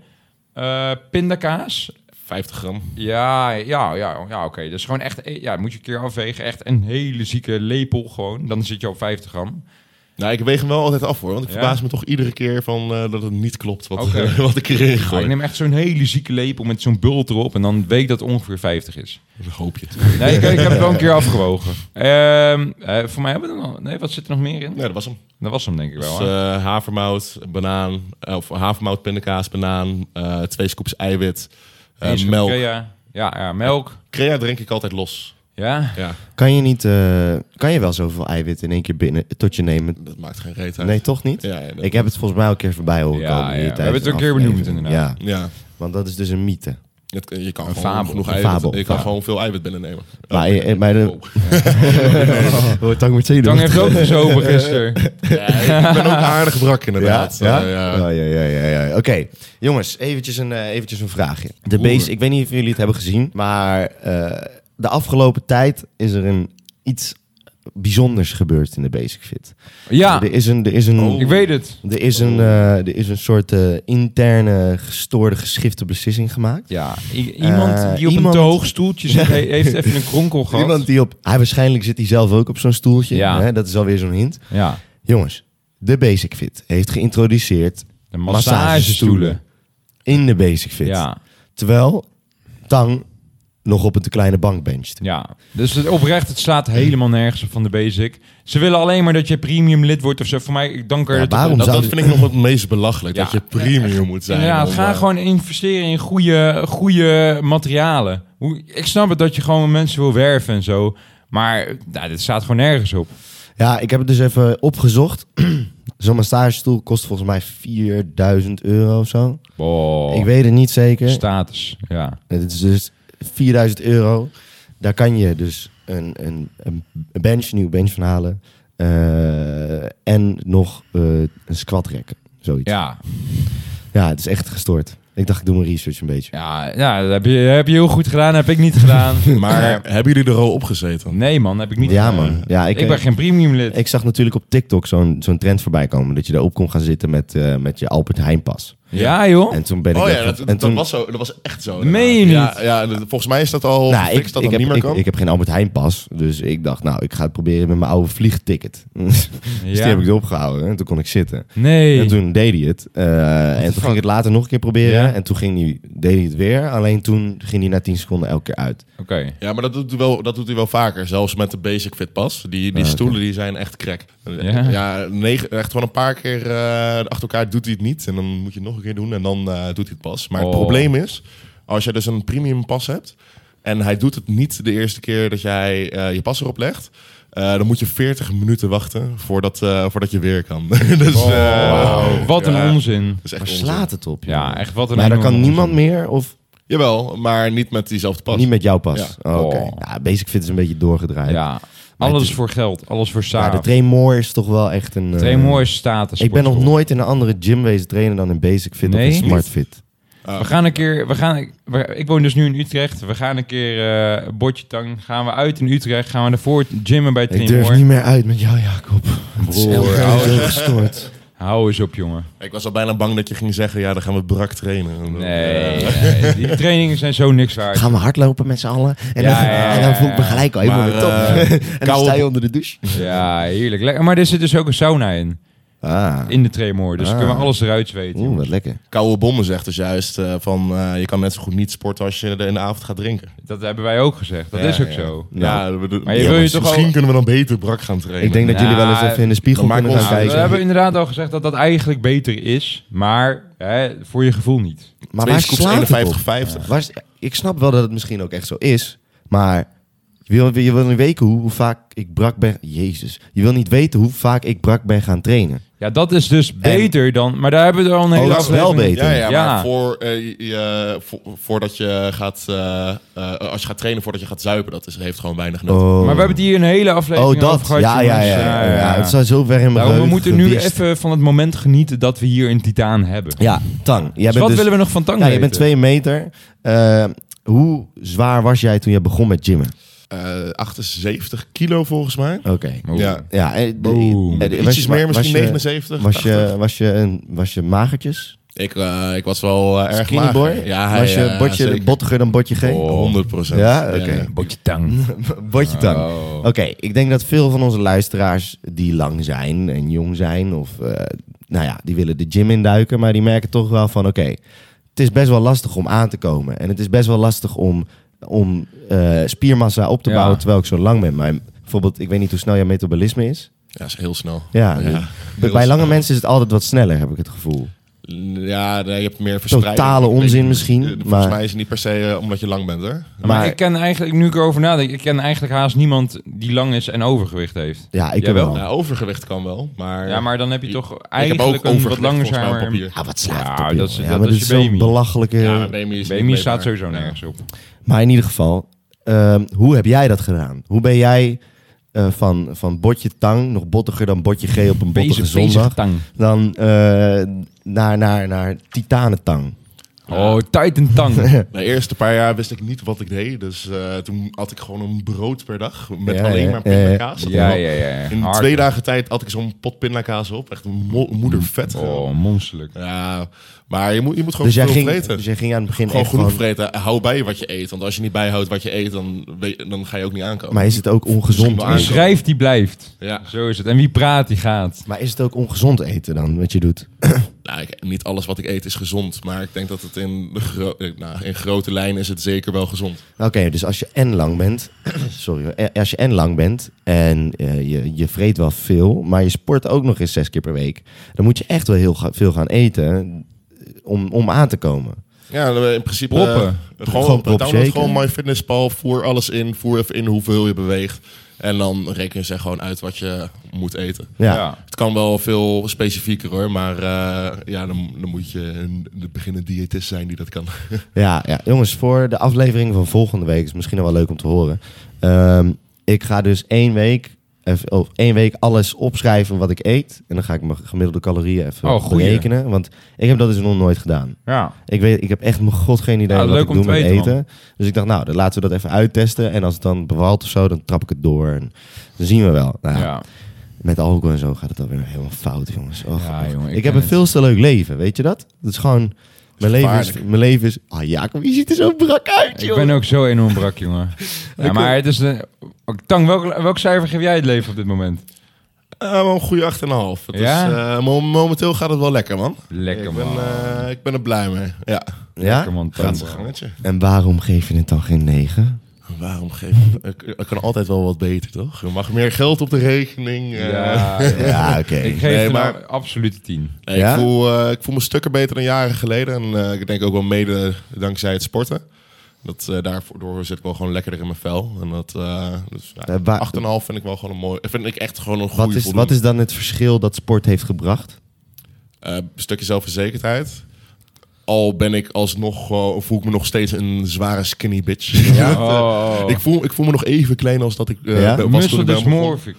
[SPEAKER 3] Eh, pindakaas.
[SPEAKER 4] 50 gram.
[SPEAKER 3] Ja, ja, ja, ja oké. Dus gewoon echt, eh, ja, moet je een keer afwegen. Echt een hele zieke lepel gewoon. Dan zit je op 50 gram.
[SPEAKER 4] Nou, ik weeg hem wel altijd af hoor. Want ik
[SPEAKER 3] Ja?
[SPEAKER 4] verbaas me toch iedere keer van eh, dat het niet klopt wat,
[SPEAKER 3] Oké.
[SPEAKER 4] [laughs] wat ik erin
[SPEAKER 3] Ja,
[SPEAKER 4] gooi.
[SPEAKER 3] ik neem echt zo'n hele zieke lepel met zo'n bult erop. En dan weet ik dat het ongeveer 50 is.
[SPEAKER 4] Dan hoop je het.
[SPEAKER 3] Nee, ik, ik heb het wel een keer afgewogen. Ehm, eh, voor mij hebben we er nog... Nee, wat zit er nog meer in?
[SPEAKER 4] Nee, dat was hem.
[SPEAKER 3] Dat was hem denk ik
[SPEAKER 4] Dus,
[SPEAKER 3] wel. hè?
[SPEAKER 4] eh, havermout, banaan, eh, of havermout, pindakaas, banaan, eh, twee scoops eiwit, eh,
[SPEAKER 3] Eens
[SPEAKER 4] melk. Crea.
[SPEAKER 3] crea. Ja, ja, melk.
[SPEAKER 4] drink ik altijd los.
[SPEAKER 3] Ja.
[SPEAKER 4] Ja,
[SPEAKER 1] Kan je, niet, eh, kan je wel zoveel eiwit in één keer binnen tot je nemen?
[SPEAKER 4] dat maakt geen reet uit.
[SPEAKER 1] Nee, toch niet?
[SPEAKER 4] Ja, ja, dat-
[SPEAKER 1] Ik heb het volgens mij al een keer voorbij horen
[SPEAKER 3] Ja,
[SPEAKER 1] komen. hier
[SPEAKER 3] ja. We
[SPEAKER 1] tijdens
[SPEAKER 3] hebben het ook een keer
[SPEAKER 1] de aflevering.
[SPEAKER 3] benoemd, inderdaad.
[SPEAKER 1] Ja,
[SPEAKER 4] ja.
[SPEAKER 1] want dat is dus een mythe.
[SPEAKER 4] Het- je kan
[SPEAKER 3] Een
[SPEAKER 4] gewoon
[SPEAKER 3] fabel.
[SPEAKER 4] genoeg
[SPEAKER 1] Een
[SPEAKER 4] eiwit.
[SPEAKER 1] fabel.
[SPEAKER 4] Je kan
[SPEAKER 1] Ja.
[SPEAKER 4] gewoon veel eiwit binnennemen.
[SPEAKER 1] Maar eh, eh, bij de...
[SPEAKER 4] Oh.
[SPEAKER 1] [laughs] Oh, tang met zenuwen.
[SPEAKER 3] Tang heeft ook [laughs] gezopen gisteren.
[SPEAKER 1] [laughs]
[SPEAKER 4] Ja, ik ben ook aardig brak
[SPEAKER 1] Ja,
[SPEAKER 4] inderdaad.
[SPEAKER 1] ja?
[SPEAKER 4] Eh, ja.
[SPEAKER 1] ja, ja, ja, ja, ja. Oké, jongens, eventjes een, eh, eventjes een vraagje. De
[SPEAKER 4] Oeh.
[SPEAKER 1] base, ik weet niet of jullie het hebben gezien, maar eh, de afgelopen tijd is er een iets bijzonders gebeurd in de Basic Fit.
[SPEAKER 3] Ja,
[SPEAKER 1] Er is een, er is een,
[SPEAKER 4] Oh.
[SPEAKER 3] ik weet het.
[SPEAKER 1] er is een, eh, er is een soort eh, interne gestoorde geschifte beslissing gemaakt.
[SPEAKER 3] Ja, i- iemand
[SPEAKER 1] Eh,
[SPEAKER 3] die op
[SPEAKER 1] iemand-
[SPEAKER 3] een te hoog stoeltje [laughs] zit, he- heeft even een kronkel gehad.
[SPEAKER 1] Iemand die op, hij Ah, waarschijnlijk zit hij zelf ook op zo'n stoeltje.
[SPEAKER 3] Ja.
[SPEAKER 1] Hè, dat is alweer zo'n hint.
[SPEAKER 3] Ja,
[SPEAKER 1] Jongens, de Basic Fit heeft geïntroduceerd
[SPEAKER 3] de massagestoelen.
[SPEAKER 1] in de Basic Fit.
[SPEAKER 3] Ja,
[SPEAKER 1] Terwijl Tang nog op een te kleine bank bencht.
[SPEAKER 3] ja. Dus het oprecht, het slaat helemaal nergens op van de basic. Ze willen alleen maar dat je premium lid wordt of zo. Voor mij, ik dank er...
[SPEAKER 1] Ja,
[SPEAKER 3] dat-
[SPEAKER 1] waarom
[SPEAKER 4] Dat,
[SPEAKER 1] zou
[SPEAKER 4] dat
[SPEAKER 1] die-
[SPEAKER 4] vind ik nog het meest belachelijk.
[SPEAKER 3] Ja.
[SPEAKER 4] Dat je premium moet zijn.
[SPEAKER 3] Inderdaad,
[SPEAKER 4] om,
[SPEAKER 3] ga
[SPEAKER 4] eh,
[SPEAKER 3] gewoon investeren in goede, goede materialen. Hoe, ik snap het dat je gewoon mensen wil werven en zo. Maar nou, dit staat gewoon nergens op.
[SPEAKER 1] Ja, ik heb het dus even opgezocht. [clears throat] Zo'n massagestoel kost volgens mij 4000 euro of zo.
[SPEAKER 3] Oh,
[SPEAKER 1] Ik weet het niet zeker.
[SPEAKER 3] status. Ja.
[SPEAKER 1] het is dus 4000 euro. Daar kan je dus een, een, een bench, een nieuwe bench van halen. eh, en nog eh, een squat rack. Zoiets.
[SPEAKER 3] Ja,
[SPEAKER 1] ja, het is echt gestoord. Ik dacht, ik doe mijn research een beetje.
[SPEAKER 3] ja, ja dat heb je, heb je heel goed gedaan, heb ik niet
[SPEAKER 1] [laughs]
[SPEAKER 3] gedaan.
[SPEAKER 4] Maar hebben jullie er al op gezeten?
[SPEAKER 3] Nee man, heb ik niet
[SPEAKER 1] ja,
[SPEAKER 3] gedaan.
[SPEAKER 1] man. Ja, eh,
[SPEAKER 3] Ik, ben geen premium lid.
[SPEAKER 1] Ik zag natuurlijk op TikTok zo'n zo'n trend voorbij komen. Dat je daarop kon gaan zitten met, eh, met je Albert Heijnpas.
[SPEAKER 3] ja joh.
[SPEAKER 1] En toen ben ik...
[SPEAKER 4] Oh ja,
[SPEAKER 1] echt-
[SPEAKER 4] dat,
[SPEAKER 1] en
[SPEAKER 4] dat
[SPEAKER 1] toen,
[SPEAKER 4] was zo, dat was echt zo.
[SPEAKER 3] Dat meen je
[SPEAKER 4] inderdaad.
[SPEAKER 3] niet.
[SPEAKER 4] Ja, ja, dat- volgens mij is dat al
[SPEAKER 1] nou,
[SPEAKER 4] gefixt
[SPEAKER 1] ik, ik,
[SPEAKER 4] dat dat
[SPEAKER 1] heb,
[SPEAKER 4] niet meer
[SPEAKER 1] ik,
[SPEAKER 4] kan.
[SPEAKER 1] ik heb geen Albert Heijnpas. Dus ik dacht, nou, ik ga het proberen met mijn oude vliegticket. [laughs] dus die
[SPEAKER 3] Ja.
[SPEAKER 1] heb ik erop gehouden. En toen kon ik zitten.
[SPEAKER 3] Nee.
[SPEAKER 1] En toen deed hij het. eh, en toen ging ik het later nog een keer proberen.
[SPEAKER 3] Ja.
[SPEAKER 1] En toen ging hij, deed hij het weer. Alleen toen ging hij na 10 seconden elke keer uit.
[SPEAKER 3] Oké.
[SPEAKER 4] Ja, maar dat doet, hij wel, dat doet hij wel vaker. Zelfs met de Basic Fit Pass. Die, die
[SPEAKER 1] Ah, oké.
[SPEAKER 4] stoelen die zijn echt crack.
[SPEAKER 3] Ja.
[SPEAKER 4] Ja, negen, echt gewoon een paar keer eh, achter elkaar doet hij het niet. En dan moet je het nog een keer doen en dan eh, doet hij het pas. Maar
[SPEAKER 3] Oh.
[SPEAKER 4] het probleem is, als je dus een premium pas hebt... en hij doet het niet de eerste keer dat jij eh, je pas erop legt... eh, dan moet je 40 minuten wachten voordat, eh, voordat je weer kan. [laughs] dus, eh,
[SPEAKER 3] Wauw, Wat een
[SPEAKER 4] ja,
[SPEAKER 3] onzin.
[SPEAKER 4] dat is echt
[SPEAKER 1] Maar
[SPEAKER 4] onzin.
[SPEAKER 1] slaat het op, joh.
[SPEAKER 3] Ja, echt wat een
[SPEAKER 1] Oh, Maar dan
[SPEAKER 3] enorme
[SPEAKER 1] kan
[SPEAKER 3] onzin.
[SPEAKER 1] niemand meer of
[SPEAKER 4] Jawel, maar niet met diezelfde pas.
[SPEAKER 1] niet met jou pas.
[SPEAKER 4] Ja.
[SPEAKER 1] Oh, Oké.
[SPEAKER 3] Oh.
[SPEAKER 1] Ja, Basic Fit is een beetje doorgedraaid.
[SPEAKER 3] Ja.
[SPEAKER 1] Maar
[SPEAKER 3] Alles
[SPEAKER 1] het-
[SPEAKER 3] voor geld. Alles voor
[SPEAKER 1] Maar
[SPEAKER 3] saaf.
[SPEAKER 1] de Train More is toch wel echt een... eh,
[SPEAKER 3] Train mooi status.
[SPEAKER 1] Ik ben nog
[SPEAKER 3] sportschool.
[SPEAKER 1] nooit in een andere gym wezen trainen dan in Basic Fit
[SPEAKER 3] Nee?
[SPEAKER 1] of in Smart Fit.
[SPEAKER 4] Ah.
[SPEAKER 3] We gaan een keer... We gaan, we- ik woon dus nu in Utrecht. We gaan een keer eh bordje tang. Gaan we uit in Utrecht. Gaan we naar voren gymmen bij
[SPEAKER 1] Ik durf
[SPEAKER 3] Trimor.
[SPEAKER 1] niet meer uit met jou, Jacob. Het is heel
[SPEAKER 3] Broer,
[SPEAKER 1] erg gestoord.
[SPEAKER 3] Hou eens op, jongen.
[SPEAKER 4] Ik was al bijna bang dat je ging zeggen, ja, dan gaan we brak trainen.
[SPEAKER 3] Nee, nee, die trainingen zijn zo niks waard.
[SPEAKER 1] Gaan we hardlopen met z'n allen? En,
[SPEAKER 3] Ja,
[SPEAKER 1] dan,
[SPEAKER 3] ja,
[SPEAKER 1] en dan
[SPEAKER 3] ja,
[SPEAKER 1] voel ik me
[SPEAKER 3] ja.
[SPEAKER 1] gelijk al helemaal
[SPEAKER 4] Maar,
[SPEAKER 1] weer top. [laughs]
[SPEAKER 4] eh,
[SPEAKER 1] en dan sta
[SPEAKER 4] koude-
[SPEAKER 1] je onder de douche.
[SPEAKER 3] Ja, heerlijk. Lekker. Maar er zit dus ook een sauna in.
[SPEAKER 1] Ah,
[SPEAKER 3] In de Tremor. Dus
[SPEAKER 1] Ah.
[SPEAKER 3] kunnen we alles eruit zweten.
[SPEAKER 1] oeh, wat lekker.
[SPEAKER 4] Koude bommen zegt dus juist eh, van eh, je kan net zo goed niet sporten als je er in de avond gaat drinken.
[SPEAKER 3] Dat hebben wij ook gezegd. Dat
[SPEAKER 4] Ja,
[SPEAKER 3] is ook
[SPEAKER 4] ja.
[SPEAKER 3] zo.
[SPEAKER 1] Nou,
[SPEAKER 4] ja, we doen-
[SPEAKER 3] maar je
[SPEAKER 4] ja,
[SPEAKER 3] wil je
[SPEAKER 4] mis-
[SPEAKER 3] toch
[SPEAKER 4] misschien
[SPEAKER 3] al-
[SPEAKER 4] kunnen we dan beter brak gaan trainen.
[SPEAKER 1] Ik denk dat
[SPEAKER 3] Nou,
[SPEAKER 1] jullie wel eens even in de spiegel
[SPEAKER 4] dan maken
[SPEAKER 1] kunnen
[SPEAKER 4] we
[SPEAKER 1] gaan
[SPEAKER 4] ons-
[SPEAKER 3] Nou, we
[SPEAKER 1] kijken.
[SPEAKER 3] hebben inderdaad al gezegd dat dat eigenlijk beter is. Maar hè, voor je gevoel niet.
[SPEAKER 1] Maar
[SPEAKER 4] Twee
[SPEAKER 1] waar
[SPEAKER 4] scoops,
[SPEAKER 1] slaat het op?
[SPEAKER 4] 51, 50.
[SPEAKER 1] Waar is- ik snap wel dat het misschien ook echt zo is, maar... Je wil, je wil niet weten hoe, hoe vaak ik brak ben... Jezus. Je wil niet weten hoe vaak ik brak ben gaan trainen.
[SPEAKER 3] Ja, dat is dus beter dan... Maar daar hebben we er al een hele
[SPEAKER 1] Oh, dat is wel
[SPEAKER 3] aflevering-
[SPEAKER 1] beter.
[SPEAKER 4] Ja, ja,
[SPEAKER 3] Ja.
[SPEAKER 4] maar voor, eh, je- je- vo- voordat je gaat... eh, eh, als je gaat trainen voordat je gaat zuipen, dat is, heeft gewoon weinig nut.
[SPEAKER 1] Oh.
[SPEAKER 3] Maar we hebben het hier een hele aflevering
[SPEAKER 1] Oh, dat.
[SPEAKER 3] over gehad.
[SPEAKER 1] ja, ja, ja,
[SPEAKER 3] jongens.
[SPEAKER 1] ja, ja. Het staat zo ver in mijn
[SPEAKER 3] Daarom, we
[SPEAKER 1] geheugen
[SPEAKER 3] moeten nu
[SPEAKER 1] gebiest.
[SPEAKER 3] even van het moment genieten dat we hier een titaan hebben.
[SPEAKER 1] Ja, Tang. Jij
[SPEAKER 3] Dus
[SPEAKER 1] bent
[SPEAKER 3] wat
[SPEAKER 1] dus,
[SPEAKER 3] willen we nog van Tang
[SPEAKER 1] ja, je
[SPEAKER 3] weten?
[SPEAKER 1] bent twee meter. Eh, hoe zwaar was jij toen je begon met gymmen?
[SPEAKER 4] Eh, 78 kilo volgens mij.
[SPEAKER 1] Oké.
[SPEAKER 3] Oeh.
[SPEAKER 4] Ja.
[SPEAKER 1] Ja, eh, de-
[SPEAKER 3] Boom.
[SPEAKER 1] eh, de- was
[SPEAKER 4] Ietsjes
[SPEAKER 1] je-
[SPEAKER 4] meer,
[SPEAKER 1] was
[SPEAKER 4] misschien
[SPEAKER 1] je-
[SPEAKER 4] 79.
[SPEAKER 1] Was je,
[SPEAKER 4] 80.
[SPEAKER 1] was, je een, was je magertjes?
[SPEAKER 4] Ik, eh, ik was wel eh, erg
[SPEAKER 1] Skinny
[SPEAKER 4] laag.
[SPEAKER 1] boy?
[SPEAKER 4] Ja, hij,
[SPEAKER 1] was je
[SPEAKER 4] eh,
[SPEAKER 1] botje
[SPEAKER 4] zeker.
[SPEAKER 1] bottiger dan botje G?
[SPEAKER 4] Oh, 100 procent.
[SPEAKER 1] Ja? Oké.
[SPEAKER 3] Botje tang.
[SPEAKER 1] Botje tang.
[SPEAKER 3] Oh.
[SPEAKER 1] Oké, ik denk dat veel van onze luisteraars die lang zijn en jong zijn... of eh, nou ja, die willen de gym induiken... maar die merken toch wel van oké... het is best wel lastig om aan te komen. En het is best wel lastig om, om eh, spiermassa op te
[SPEAKER 3] Ja.
[SPEAKER 1] bouwen... terwijl ik zo lang ben. Maar bijvoorbeeld, ik weet niet hoe snel jouw metabolisme is.
[SPEAKER 4] Ja, is heel snel.
[SPEAKER 1] Ja,
[SPEAKER 4] Ja,
[SPEAKER 1] dus-
[SPEAKER 4] heel
[SPEAKER 1] bij lange
[SPEAKER 4] snel.
[SPEAKER 1] mensen is het altijd wat sneller, heb ik het gevoel.
[SPEAKER 4] Ja, nee, je hebt meer verspreiding.
[SPEAKER 1] Totale onzin
[SPEAKER 4] Ik-
[SPEAKER 1] misschien,
[SPEAKER 4] eh, Volgens
[SPEAKER 1] maar-
[SPEAKER 4] mij is het niet per se eh, omdat je lang bent, hè?
[SPEAKER 3] Maar, ik ken eigenlijk, nu ik erover nadenk, ik ken eigenlijk haast niemand die lang is en overgewicht heeft.
[SPEAKER 1] Ja, ik
[SPEAKER 3] Jij
[SPEAKER 1] wel.
[SPEAKER 3] wel?
[SPEAKER 1] wel.
[SPEAKER 4] Nou, overgewicht kan wel, maar...
[SPEAKER 3] Ja, maar dan heb je toch
[SPEAKER 4] ik heb
[SPEAKER 3] eigenlijk
[SPEAKER 4] ook
[SPEAKER 3] een wat
[SPEAKER 4] overgewicht
[SPEAKER 3] langer
[SPEAKER 4] volgens mij op
[SPEAKER 3] zijn.
[SPEAKER 4] papier.
[SPEAKER 1] Ah, wat slaat
[SPEAKER 3] Ja,
[SPEAKER 1] het op, joh.
[SPEAKER 3] dat is-
[SPEAKER 1] Ja,
[SPEAKER 3] dat
[SPEAKER 1] maar
[SPEAKER 3] is
[SPEAKER 1] dit
[SPEAKER 3] je
[SPEAKER 1] zo'n
[SPEAKER 3] baby.
[SPEAKER 1] belachelijke...
[SPEAKER 4] Ja, maar BMI is niet
[SPEAKER 3] BMI staat
[SPEAKER 4] meetbaar.
[SPEAKER 3] sowieso
[SPEAKER 4] Ja.
[SPEAKER 3] nergens op.
[SPEAKER 1] Maar in ieder geval, ehm, hoe heb jij dat gedaan? Hoe ben jij eh, van, van botje tang, nog bottiger dan botje G op een bottige
[SPEAKER 3] Bezig,
[SPEAKER 1] zondag,
[SPEAKER 3] bezig tang.
[SPEAKER 1] dan eh, naar, naar, naar titanentang?
[SPEAKER 3] Oh, Titan tang.
[SPEAKER 4] De eerste paar jaar wist ik niet wat ik deed. Dus eh, toen at ik gewoon een brood per dag. Met
[SPEAKER 1] Ja,
[SPEAKER 4] alleen
[SPEAKER 1] ja,
[SPEAKER 4] maar
[SPEAKER 1] ja, ja.
[SPEAKER 4] pindakaas. Dat
[SPEAKER 3] ja,
[SPEAKER 4] had-
[SPEAKER 3] ja, ja.
[SPEAKER 4] In
[SPEAKER 3] Hard.
[SPEAKER 4] twee dagen tijd at ik zo'n pot pindakaas op. Echt mo- moedervet. gewoon.
[SPEAKER 3] Oh, monsterlijk.
[SPEAKER 4] Ja, maar je moet, je moet gewoon
[SPEAKER 1] Dus jij,
[SPEAKER 4] veel
[SPEAKER 1] ging,
[SPEAKER 4] vreten.
[SPEAKER 1] dus jij ging aan het begin
[SPEAKER 4] Gewoon
[SPEAKER 1] echt
[SPEAKER 4] genoeg
[SPEAKER 1] van-
[SPEAKER 4] vreten. Hou bij wat je eet. Want als je niet bijhoudt wat je eet, dan, weet- dan ga je ook niet aankomen.
[SPEAKER 1] Maar is het ook ongezond?
[SPEAKER 4] Misschien
[SPEAKER 3] Wie
[SPEAKER 4] wel
[SPEAKER 1] eten?
[SPEAKER 4] aankomen.
[SPEAKER 3] schrijft, die blijft.
[SPEAKER 4] Ja.
[SPEAKER 3] Zo is het. En wie praat, die gaat.
[SPEAKER 1] Maar is het ook ongezond eten dan, wat je doet?
[SPEAKER 4] Nou, ik- niet alles wat ik eet is gezond. Maar ik denk dat het in, de gro- eh, nou, in grote lijnen is het zeker wel gezond.
[SPEAKER 1] Oké, dus als je en lang bent, [clears throat] sorry, hoor, eh, als je en lang bent en eh, je, je vreet wel veel, maar je sport ook nog eens zes keer per week, dan moet je echt wel heel ga- veel gaan eten om, om aan te komen.
[SPEAKER 4] Ja, in principe... eh,
[SPEAKER 3] Proppen.
[SPEAKER 4] gewoon,
[SPEAKER 1] Gewoon prop
[SPEAKER 4] download
[SPEAKER 1] shaken.
[SPEAKER 4] gewoon MyFitnessPal. Voer alles in. Voer even in hoeveel je beweegt. En dan reken ze gewoon uit wat je moet eten.
[SPEAKER 1] Ja.
[SPEAKER 4] Het kan wel veel specifieker hoor. Maar eh, ja, dan, dan moet je een de beginnende diëtist zijn die dat kan. [laughs] Eh,
[SPEAKER 1] Ja, ja, jongens, voor de aflevering van volgende week is misschien al wel leuk om te horen. Ehm, ik ga dus één week, even, oh, één week alles opschrijven wat ik eet. En dan ga ik mijn gemiddelde calorieën even
[SPEAKER 3] Oh, goeie.
[SPEAKER 1] berekenen. Want ik heb dat dus nog nooit gedaan.
[SPEAKER 3] Ja.
[SPEAKER 1] Ik, weet, ik heb echt mijn god geen idee
[SPEAKER 3] Ja,
[SPEAKER 1] wat
[SPEAKER 3] leuk
[SPEAKER 1] ik
[SPEAKER 3] om
[SPEAKER 1] doe
[SPEAKER 3] te
[SPEAKER 1] met
[SPEAKER 3] weten,
[SPEAKER 1] eten. Dus ik dacht, nou, dan laten we dat even uittesten. En als het dan bevalt of zo, dan trap ik het door. En dan zien we wel. Nou,
[SPEAKER 3] Ja.
[SPEAKER 1] Met alcohol en zo gaat het alweer helemaal fout, jongens. Oh,
[SPEAKER 3] Ja,
[SPEAKER 1] God.
[SPEAKER 3] jongen, ik
[SPEAKER 1] ik,
[SPEAKER 3] ken
[SPEAKER 1] heb een
[SPEAKER 3] het.
[SPEAKER 1] veel te leuk leven, weet je dat? Het is gewoon... Mijn leven is...
[SPEAKER 4] gevaarlijk.
[SPEAKER 1] Mijn leven is... Ah, Jacob, je ziet er zo brak uit,
[SPEAKER 3] Ik
[SPEAKER 1] joh.
[SPEAKER 3] ben ook zo enorm brak,
[SPEAKER 4] [laughs]
[SPEAKER 3] jongen. Ja, maar het is... Een... Oh, Tang, welk, welk cijfer geef jij het leven op dit moment?
[SPEAKER 4] Eh, wel een goede 8,5. Het
[SPEAKER 3] Ja?
[SPEAKER 4] is, eh, mo- momenteel gaat het wel lekker, man.
[SPEAKER 3] Lekker,
[SPEAKER 4] ik, ben,
[SPEAKER 3] man.
[SPEAKER 4] eh, ik ben er blij mee. Ja,
[SPEAKER 1] Ja?
[SPEAKER 3] Lekker, man.
[SPEAKER 4] gaat
[SPEAKER 3] Tang,
[SPEAKER 4] zijn
[SPEAKER 3] bro.
[SPEAKER 4] gangetje.
[SPEAKER 1] En waarom geef je het dan geen
[SPEAKER 3] [laughs]
[SPEAKER 1] 9?
[SPEAKER 4] Waarom geef ik... Ik, ik kan altijd wel wat beter, toch? Je mag meer geld op de rekening. eh.
[SPEAKER 3] Ja,
[SPEAKER 1] Ja, oké.
[SPEAKER 3] ik geef
[SPEAKER 4] Nee,
[SPEAKER 3] het
[SPEAKER 4] maar-
[SPEAKER 3] een absolute 10.
[SPEAKER 4] Nee,
[SPEAKER 1] Ja?
[SPEAKER 4] ik, voel, eh, ik voel me stukken beter dan jaren geleden. En eh, ik denk ook wel mede dankzij het sporten. Dat, eh, daardoor zit ik wel gewoon lekkerder in mijn vel. En dat, eh dus, ja,
[SPEAKER 1] Eh, waar-
[SPEAKER 4] 8,5 vind ik wel gewoon een mooi... Vind ik echt gewoon een
[SPEAKER 1] Wat
[SPEAKER 4] goede
[SPEAKER 1] is, wat is dan het verschil dat sport heeft gebracht?
[SPEAKER 4] Eh, een stukje zelfverzekerdheid. Al ben ik alsnog, eh, voel ik me nog steeds een zware skinny bitch. [laughs] Dat, eh,
[SPEAKER 3] Oh.
[SPEAKER 4] ik, voel, ik voel me nog even klein als dat ik
[SPEAKER 1] Ja?
[SPEAKER 4] eh, be- was toen
[SPEAKER 3] Muscle
[SPEAKER 4] ik bij hem begon.
[SPEAKER 3] dysmorphic.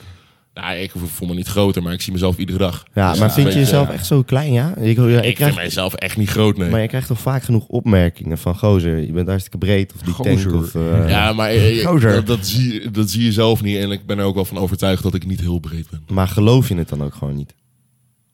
[SPEAKER 4] Nou, ik voel me niet groter, maar ik zie mezelf iedere dag.
[SPEAKER 1] Ja,
[SPEAKER 4] Dus
[SPEAKER 1] maar
[SPEAKER 4] ja,
[SPEAKER 1] vind je
[SPEAKER 4] weet eh,
[SPEAKER 1] jezelf echt zo klein, ja? Ik, ja, ik
[SPEAKER 4] Ik
[SPEAKER 1] krijg,
[SPEAKER 4] vind mijzelf echt niet groot, nee.
[SPEAKER 1] maar je krijgt toch vaak genoeg opmerkingen van... Gozer, je bent hartstikke breed of die tank
[SPEAKER 3] Gozer.
[SPEAKER 1] of... eh,
[SPEAKER 4] ja, maar eh,
[SPEAKER 1] [laughs]
[SPEAKER 4] eh,
[SPEAKER 1] Groter.
[SPEAKER 4] dat, dat zie, dat zie je zelf niet. En ik ben er ook wel van overtuigd dat ik niet heel breed ben.
[SPEAKER 1] Maar geloof je het dan ook gewoon
[SPEAKER 3] [laughs]
[SPEAKER 1] niet?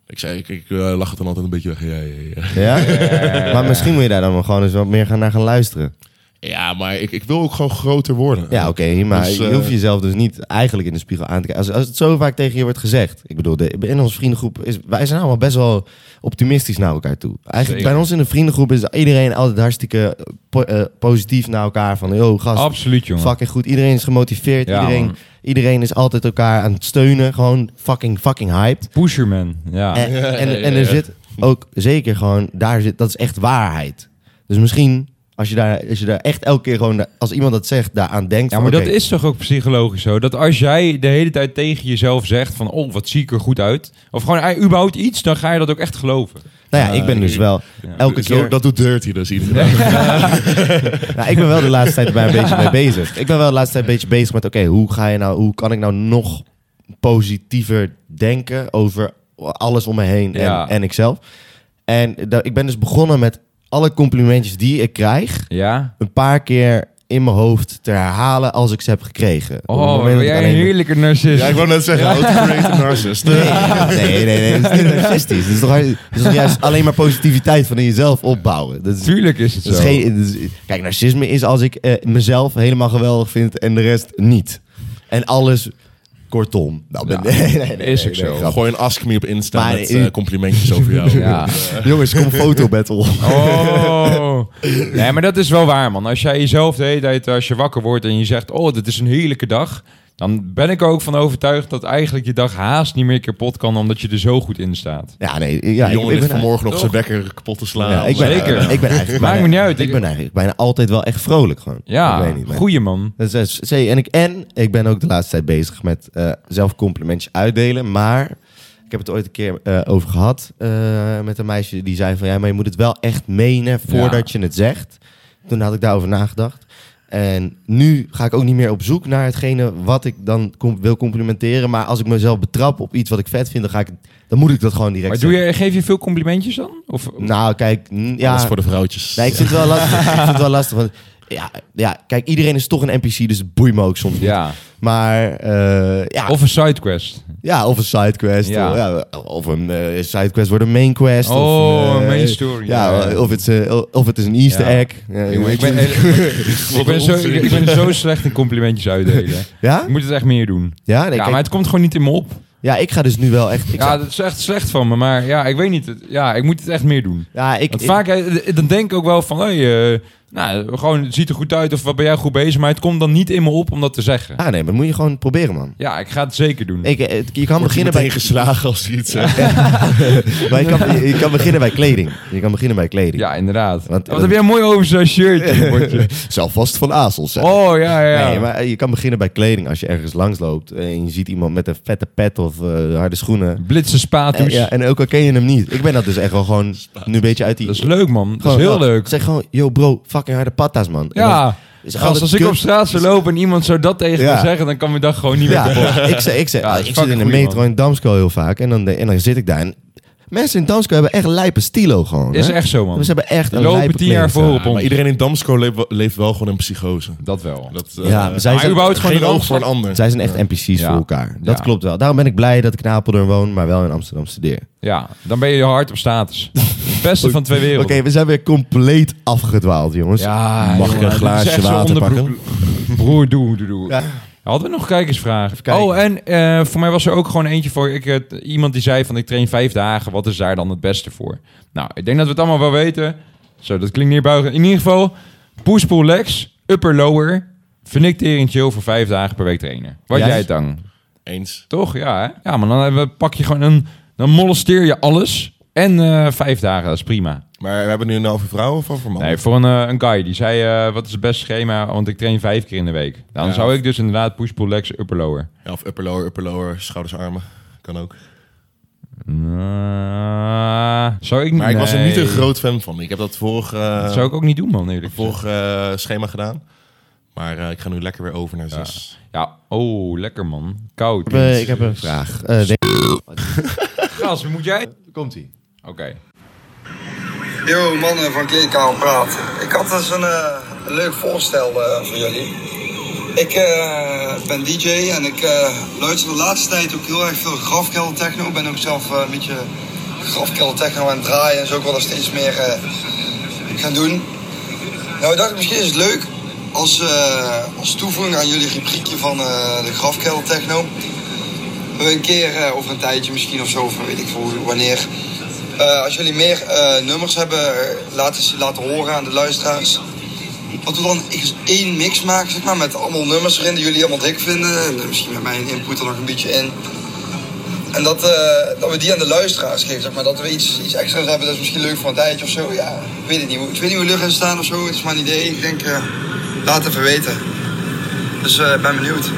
[SPEAKER 4] Ik, zei, ik, ik eh, lach het dan altijd een beetje weg. Ja, ja, ja.
[SPEAKER 1] Ja? Maar misschien moet je daar dan wel gewoon eens wat meer gaan naar gaan luisteren.
[SPEAKER 4] ja maar ik, ik wil ook gewoon groter worden.
[SPEAKER 1] Ja, oké, maar
[SPEAKER 4] Dus,
[SPEAKER 1] je hoeft
[SPEAKER 4] eh,
[SPEAKER 1] jezelf dus niet eigenlijk in de spiegel aan te kijken. Als, als het zo vaak tegen je wordt gezegd. Ik bedoel, de, in onze vriendengroep is... Wij zijn allemaal best wel optimistisch naar elkaar toe. Eigenlijk
[SPEAKER 3] Zeker.
[SPEAKER 1] bij ons in de vriendengroep is iedereen altijd hartstikke eh, po- eh, positief naar elkaar. Van, yo, gast,
[SPEAKER 3] Absoluut, jongen.
[SPEAKER 1] fucking goed. Iedereen is gemotiveerd.
[SPEAKER 3] Ja,
[SPEAKER 1] iedereen,
[SPEAKER 3] man.
[SPEAKER 1] iedereen is altijd elkaar aan het steunen. Gewoon fucking, fucking hyped.
[SPEAKER 3] Pusherman, [laughs] ja.
[SPEAKER 1] En, en, en er
[SPEAKER 4] ja.
[SPEAKER 1] zit ook zeker gewoon... Daar zit, dat is echt waarheid. Dus misschien Als je daar, als je daar echt elke keer gewoon, als iemand dat zegt, daaraan denkt.
[SPEAKER 3] Ja,
[SPEAKER 1] van,
[SPEAKER 3] maar dat
[SPEAKER 1] oké,
[SPEAKER 3] is toch ook psychologisch zo? Dat als jij de hele tijd tegen jezelf zegt van... oh, wat zie ik er goed uit. Of gewoon eh, überhaupt iets, dan ga je dat ook echt geloven.
[SPEAKER 1] Nou ja, ik ben dus wel elke
[SPEAKER 4] Zo-
[SPEAKER 1] keer...
[SPEAKER 4] Dat doet Dirty dus iedere dag.
[SPEAKER 1] Nou, ik ben wel de laatste tijd er
[SPEAKER 3] [laughs]
[SPEAKER 1] bij een beetje mee bezig. Ik ben wel de laatste tijd een beetje bezig met... Oké, hoe ga je nou... Hoe kan ik nou nog positiever denken over alles om me heen en,
[SPEAKER 3] Ja.
[SPEAKER 1] en ikzelf? En da- ik ben dus begonnen met alle complimentjes die ik krijg...
[SPEAKER 3] Ja?
[SPEAKER 1] een paar keer in mijn hoofd te herhalen als ik ze heb gekregen. Op het
[SPEAKER 3] Oh,
[SPEAKER 1] moment dat
[SPEAKER 3] ben
[SPEAKER 1] ik
[SPEAKER 3] jij een
[SPEAKER 1] alleen-
[SPEAKER 3] heerlijke narcist.
[SPEAKER 4] Ja, ik wou net zeggen, outcreate narcist.
[SPEAKER 1] Nee, nee, nee. nee, Dat is niet narcistisch. Dat is toch, dat is toch juist alleen maar positiviteit van in jezelf opbouwen. Dat is,
[SPEAKER 3] Tuurlijk is het
[SPEAKER 1] Dat is
[SPEAKER 3] zo.
[SPEAKER 1] geen, dat is- kijk, narcisme is als ik eh, mezelf helemaal geweldig vind en de rest niet. En alles kortom. Nou, ben, [laughs]
[SPEAKER 3] Ja,
[SPEAKER 1] nee, nee, nee,
[SPEAKER 3] is
[SPEAKER 1] nee,
[SPEAKER 3] ook
[SPEAKER 1] nee,
[SPEAKER 3] zo.
[SPEAKER 1] grap.
[SPEAKER 4] Gooi een ask me op Insta
[SPEAKER 1] Maar
[SPEAKER 4] met
[SPEAKER 1] in-
[SPEAKER 4] eh, complimentjes
[SPEAKER 1] [laughs]
[SPEAKER 4] over jou.
[SPEAKER 3] Ja.
[SPEAKER 1] Jongens, kom foto battle.
[SPEAKER 3] Oh. Nee, maar dat is wel waar, man. Als jij jezelf de hele tijd, als je wakker wordt en je zegt... oh, dit is een heerlijke dag... dan ben ik er ook van overtuigd dat eigenlijk je dag haast niet meer kapot kan... omdat je er zo goed in staat.
[SPEAKER 1] Ja, nee. Ja,
[SPEAKER 4] Die jongen
[SPEAKER 1] ik, ik
[SPEAKER 4] ligt
[SPEAKER 1] ben,
[SPEAKER 4] vanmorgen nog
[SPEAKER 3] Toch?
[SPEAKER 4] zijn wekker kapot te slaan.
[SPEAKER 1] ja, ik ben,
[SPEAKER 3] Zeker.
[SPEAKER 1] Ik ben eigenlijk
[SPEAKER 3] Maakt me niet uit.
[SPEAKER 1] Ik
[SPEAKER 3] Ik-
[SPEAKER 1] ben eigenlijk bijna altijd wel echt vrolijk gewoon. Ik
[SPEAKER 3] Ja,
[SPEAKER 1] weet niet, maar-
[SPEAKER 3] goeie man.
[SPEAKER 1] Dat is- dat is- en, ik, en ik ben ook de laatste tijd bezig met eh, zelf complimentjes uitdelen. Maar ik heb het ooit een keer eh, over gehad eh, met een meisje die zei van... Ja, maar je moet het wel echt menen voordat je het zegt. Toen had ik daarover nagedacht. En nu ga ik ook niet meer op zoek naar hetgene wat ik dan com- wil complimenteren. Maar als ik mezelf betrap op iets wat ik vet vind, dan, ga ik, dan moet ik dat gewoon direct
[SPEAKER 3] Maar doe je, geef je veel complimentjes dan? Of,
[SPEAKER 1] zeggen. Nou, kijk... mm, Ja,
[SPEAKER 4] Dat is voor de
[SPEAKER 1] [laughs]
[SPEAKER 4] vrouwtjes. [laughs]
[SPEAKER 1] Nee, ik vind het wel lastig. ik vind het wel lastig, want... Ja, ja, kijk, iedereen is toch een NPC, dus het boeit me ook soms niet.
[SPEAKER 3] ja.
[SPEAKER 1] Maar eh, ja, of,
[SPEAKER 3] Of een sidequest.
[SPEAKER 1] ja, of een sidequest.
[SPEAKER 3] Ja.
[SPEAKER 1] Of, ja, of een eh, sidequest wordt een main quest.
[SPEAKER 3] Oh,
[SPEAKER 1] of, eh,
[SPEAKER 3] een main story.
[SPEAKER 1] Ja,
[SPEAKER 3] Ja.
[SPEAKER 1] Of, het, is, eh, of het is een easter
[SPEAKER 3] Ja.
[SPEAKER 1] egg. Ja,
[SPEAKER 3] Jongen, ik, ben,
[SPEAKER 1] [laughs]
[SPEAKER 3] ik, ben zo, ik ben zo slecht in complimentjes uitdelen.
[SPEAKER 1] ja?
[SPEAKER 3] Ik moet het echt meer doen.
[SPEAKER 1] Ja? Nee,
[SPEAKER 3] Ja,
[SPEAKER 1] kijk,
[SPEAKER 3] maar het komt gewoon niet in me op.
[SPEAKER 1] ja, ik ga dus nu wel echt... Ik
[SPEAKER 3] Ja,
[SPEAKER 1] ja,
[SPEAKER 3] dat is echt slecht van me. Maar ja, ik weet niet. Het- Ja, ik moet het echt meer doen.
[SPEAKER 1] ja, ik,
[SPEAKER 3] Want
[SPEAKER 1] ik-
[SPEAKER 3] vaak eh, dan denk ik ook wel van... Hey, eh, nou, gewoon, het ziet er goed uit of wat ben jij goed bezig. Maar het komt dan niet in me op om dat te zeggen.
[SPEAKER 1] Ah, nee, maar moet je gewoon proberen, man.
[SPEAKER 3] Ja, ik ga het zeker doen.
[SPEAKER 1] Ik, eh, je kan
[SPEAKER 4] Wordt je
[SPEAKER 1] beginnen bij...
[SPEAKER 4] meteen geslagen als je iets eh, zegt.
[SPEAKER 1] maar je, kan,
[SPEAKER 3] [laughs]
[SPEAKER 1] je kan beginnen bij kleding. Je kan beginnen bij kleding. [laughs]
[SPEAKER 3] Ja, inderdaad.
[SPEAKER 1] Want-
[SPEAKER 3] wat heb jij mooi over zo'n shirtje? Mortje.
[SPEAKER 1] Zou vast van Azels zijn.
[SPEAKER 3] Oh, ja, ja.
[SPEAKER 1] Nee, maar eh, je kan beginnen bij kleding. Als je ergens langs loopt en je ziet iemand met een vette pet of eh, harde schoenen.
[SPEAKER 3] Blitse
[SPEAKER 1] En,
[SPEAKER 3] spatoes.
[SPEAKER 1] Eh, ja, en ook al ken je hem niet. Ik ben dat dus echt wel gewoon nu een beetje uit die...
[SPEAKER 3] Dat is leuk, man. Dat is
[SPEAKER 1] gewoon
[SPEAKER 3] heel
[SPEAKER 1] wel.
[SPEAKER 3] leuk.
[SPEAKER 1] Zeg gewoon, yo bro, fucking harde patta's, man. En dan
[SPEAKER 3] Ja.
[SPEAKER 1] is het
[SPEAKER 3] Gast,
[SPEAKER 1] altijd
[SPEAKER 3] als ik
[SPEAKER 1] kut.
[SPEAKER 3] op straat zou lopen en iemand zou dat tegen
[SPEAKER 1] Ja.
[SPEAKER 3] me zeggen, dan kan mijn dag gewoon niet meer kapot.
[SPEAKER 1] Ja, ik, zeg, ik, zeg, ah,
[SPEAKER 3] Ja, dat is
[SPEAKER 1] ik zit in
[SPEAKER 3] fucking
[SPEAKER 1] de
[SPEAKER 3] goeie,
[SPEAKER 1] metro
[SPEAKER 3] man.
[SPEAKER 1] in Damsko heel vaak en dan, de- en dan zit ik daar. En mensen in Damsko hebben echt lijpe stilo gewoon.
[SPEAKER 3] Is
[SPEAKER 1] hè?
[SPEAKER 3] echt zo, man.
[SPEAKER 1] Ze hebben echt een lijpe
[SPEAKER 3] Lopen tien jaar
[SPEAKER 1] kledingstijl.
[SPEAKER 3] voor op
[SPEAKER 4] Maar
[SPEAKER 3] ons.
[SPEAKER 4] iedereen in Damsko leeft, wel- leeft wel gewoon in psychose.
[SPEAKER 3] Dat wel.
[SPEAKER 4] Dat,
[SPEAKER 1] Ja,
[SPEAKER 4] eh,
[SPEAKER 1] zij zijn-
[SPEAKER 4] maar überhaupt gewoon
[SPEAKER 3] geen
[SPEAKER 4] een
[SPEAKER 3] oog
[SPEAKER 4] oog voor een ander.
[SPEAKER 1] Zij zijn echt NPC's
[SPEAKER 3] Ja.
[SPEAKER 1] voor elkaar. Dat
[SPEAKER 3] Ja.
[SPEAKER 1] klopt wel. Daarom ben ik blij dat ik in Apeldoorn woon, maar wel in Amsterdam studeer.
[SPEAKER 3] Ja, dan ben je hard op
[SPEAKER 1] [laughs]
[SPEAKER 3] status. Het beste van twee
[SPEAKER 1] Oké,
[SPEAKER 3] werelden.
[SPEAKER 1] we zijn weer compleet afgedwaald, jongens.
[SPEAKER 3] Ja,
[SPEAKER 4] Mag ik een glaasje water
[SPEAKER 3] pakken? Broer, doe, doe, doe.
[SPEAKER 1] Ja.
[SPEAKER 3] Hadden we nog kijkersvragen?
[SPEAKER 1] kijken.
[SPEAKER 3] Oh, en eh, voor mij was er ook gewoon eentje voor. Ik, eh, t- iemand die zei van ik train vijf dagen. Wat is daar dan het beste voor? Nou, ik denk dat we het allemaal wel weten. Zo, dat klinkt neerbuigend. In ieder geval, push, pull, legs, upper, lower. Vind ik tering chill voor vijf dagen per week trainen. Wat
[SPEAKER 1] Jij?
[SPEAKER 3] jij het dan?
[SPEAKER 4] Eens.
[SPEAKER 3] Toch? Ja, hè? Ja, maar dan hebben we- pak je gewoon een... Dan molesteer je alles. En eh, vijf dagen, dat is prima.
[SPEAKER 4] Maar we hebben nu nou over vrouwen of over mannen?
[SPEAKER 3] Nee, voor een, eh, een guy die zei, eh, wat is het beste schema, want ik train vijf keer in de week. Dan
[SPEAKER 4] Ja.
[SPEAKER 3] zou ik dus inderdaad push, pull, legs, upper, lower.
[SPEAKER 4] Ja, of upper lower, upper lower, schouders, armen. Kan ook.
[SPEAKER 3] Nou, zou ik niet...
[SPEAKER 4] Maar ik was er
[SPEAKER 3] nee.
[SPEAKER 4] niet een groot fan van. Ik heb dat vorige, eh,
[SPEAKER 3] Dat zou ik ook niet doen, man, eerlijk gezegd.
[SPEAKER 4] vorige eh, schema gedaan. Maar eh, ik ga nu lekker weer over naar zes.
[SPEAKER 3] Ja, oh, lekker, man. Koud.
[SPEAKER 1] Ik heb, eh, ik heb een vraag. Eh, nee.
[SPEAKER 3] Gas, moet jij...
[SPEAKER 1] Komt-ie.
[SPEAKER 3] Oké.
[SPEAKER 5] Yo mannen van Kleedkamer Praat. Ik had dus een, eh, een leuk voorstel eh, voor jullie. Ik eh, ben DJ en ik eh, luister de laatste tijd ook heel erg veel grafkelder techno. Ik ben ook zelf eh, een beetje grafkelder techno aan het draaien en zo ook wel er steeds meer eh, gaan doen. Nou, ik dacht misschien is het leuk als, eh, als toevoeging aan jullie rubriekje van eh, de grafkelder techno. We een keer eh, of een tijdje misschien of zo, of weet ik veel hoe- wanneer. Eh, als jullie meer eh, nummers hebben, eh, laten, ze- laten horen aan de luisteraars. Wat we dan eens één mix maken, zeg maar, met allemaal nummers erin die jullie allemaal dik vinden. En misschien met mijn input er nog een beetje in. En dat, eh, dat we die aan de luisteraars geven, zeg maar. Dat we iets, iets extra's hebben, dat is misschien leuk voor een tijdje of zo. Ja, ik weet het niet. hoe- Ik weet niet hoe lucht in staan of zo. Het is maar een idee. Ik denk, eh, laat even weten. Dus eh, ik ben benieuwd.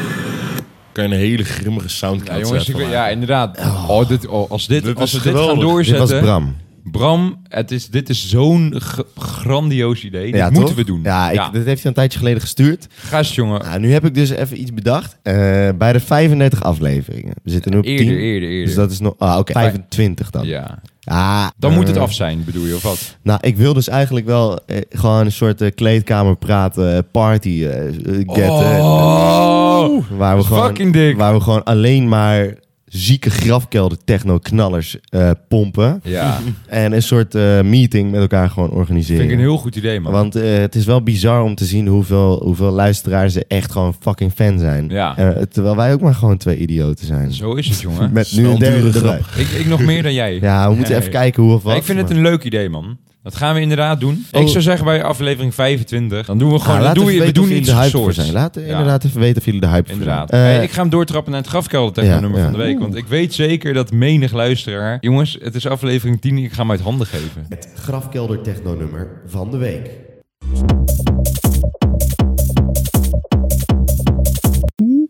[SPEAKER 4] Kan je een hele grimmige soundcloud
[SPEAKER 3] Ja, jongens, ik,
[SPEAKER 4] zetten,
[SPEAKER 3] ja, inderdaad. Oh, dit, oh, als dit,
[SPEAKER 4] Dit
[SPEAKER 3] als we
[SPEAKER 4] is
[SPEAKER 3] dit gaan
[SPEAKER 4] geweldig.
[SPEAKER 1] Dit
[SPEAKER 3] doorzetten.
[SPEAKER 1] was Bram.
[SPEAKER 3] Bram, het is, dit is zo'n g- grandioos idee. Dit
[SPEAKER 1] Ja,
[SPEAKER 3] moeten
[SPEAKER 1] toch?
[SPEAKER 3] we doen.
[SPEAKER 1] Ja, ik, dat heeft hij een tijdje geleden gestuurd.
[SPEAKER 3] Gast, jongen.
[SPEAKER 1] Nou, nu heb ik dus even iets bedacht. Eh, bij de 35 afleveringen. We zitten nu op
[SPEAKER 3] Eerder,
[SPEAKER 1] 10.
[SPEAKER 3] eerder, eerder.
[SPEAKER 1] Dus dat is nog... Ah, oké. 25 dan.
[SPEAKER 3] ja.
[SPEAKER 1] Ah,
[SPEAKER 3] Dan moet het
[SPEAKER 1] eh,
[SPEAKER 3] af zijn, bedoel je, of wat?
[SPEAKER 1] Nou, ik wil dus eigenlijk wel eh, gewoon een soort eh, kleedkamer praten, party eh, eh, get. eh,
[SPEAKER 3] Oh!
[SPEAKER 1] waar, we
[SPEAKER 3] fucking
[SPEAKER 1] gewoon,
[SPEAKER 3] dik.
[SPEAKER 1] waar we gewoon alleen maar zieke grafkelder techno-knallers eh, pompen.
[SPEAKER 3] [laughs] Ja,
[SPEAKER 1] En een soort eh, meeting met elkaar gewoon organiseren.
[SPEAKER 3] vind ik een heel goed idee, man.
[SPEAKER 1] Want eh, het is wel bizar om te zien hoeveel, hoeveel luisteraars er echt gewoon fucking fan zijn.
[SPEAKER 3] Ja.
[SPEAKER 1] Eh, terwijl wij ook maar gewoon twee idioten zijn.
[SPEAKER 3] Zo is
[SPEAKER 1] [laughs]
[SPEAKER 3] het, jongen.
[SPEAKER 1] Met nu een
[SPEAKER 4] Snel
[SPEAKER 1] derde
[SPEAKER 4] dure
[SPEAKER 1] erbij.
[SPEAKER 3] Ik, ik nog meer dan jij.
[SPEAKER 1] Ja, we moeten
[SPEAKER 3] Nee.
[SPEAKER 1] even kijken hoe of wat.
[SPEAKER 3] ik vind het
[SPEAKER 1] maar-
[SPEAKER 3] een leuk idee, man. Dat gaan we inderdaad doen.
[SPEAKER 1] Oh.
[SPEAKER 3] Ik zou zeggen bij aflevering 25. Dan doen we gewoon.
[SPEAKER 1] Nou,
[SPEAKER 3] dan
[SPEAKER 1] laat
[SPEAKER 3] doe
[SPEAKER 1] even
[SPEAKER 3] je, we
[SPEAKER 1] weten of
[SPEAKER 3] doen
[SPEAKER 1] jullie
[SPEAKER 3] iets
[SPEAKER 1] de hype voor
[SPEAKER 3] soorts.
[SPEAKER 1] zijn. Laat
[SPEAKER 3] Ja,
[SPEAKER 1] inderdaad even weten of jullie de hype voor
[SPEAKER 3] Inderdaad.
[SPEAKER 1] zijn.
[SPEAKER 3] Hey,
[SPEAKER 1] Eh,
[SPEAKER 3] ik ga hem doortrappen naar het grafkelder techno nummer
[SPEAKER 1] ja,
[SPEAKER 3] van de
[SPEAKER 1] ja.
[SPEAKER 3] week. Want ik weet zeker dat menig luisteraar. Jongens, het is aflevering 10. Ik ga hem uit handen geven.
[SPEAKER 1] Het grafkelder technonummer van de week.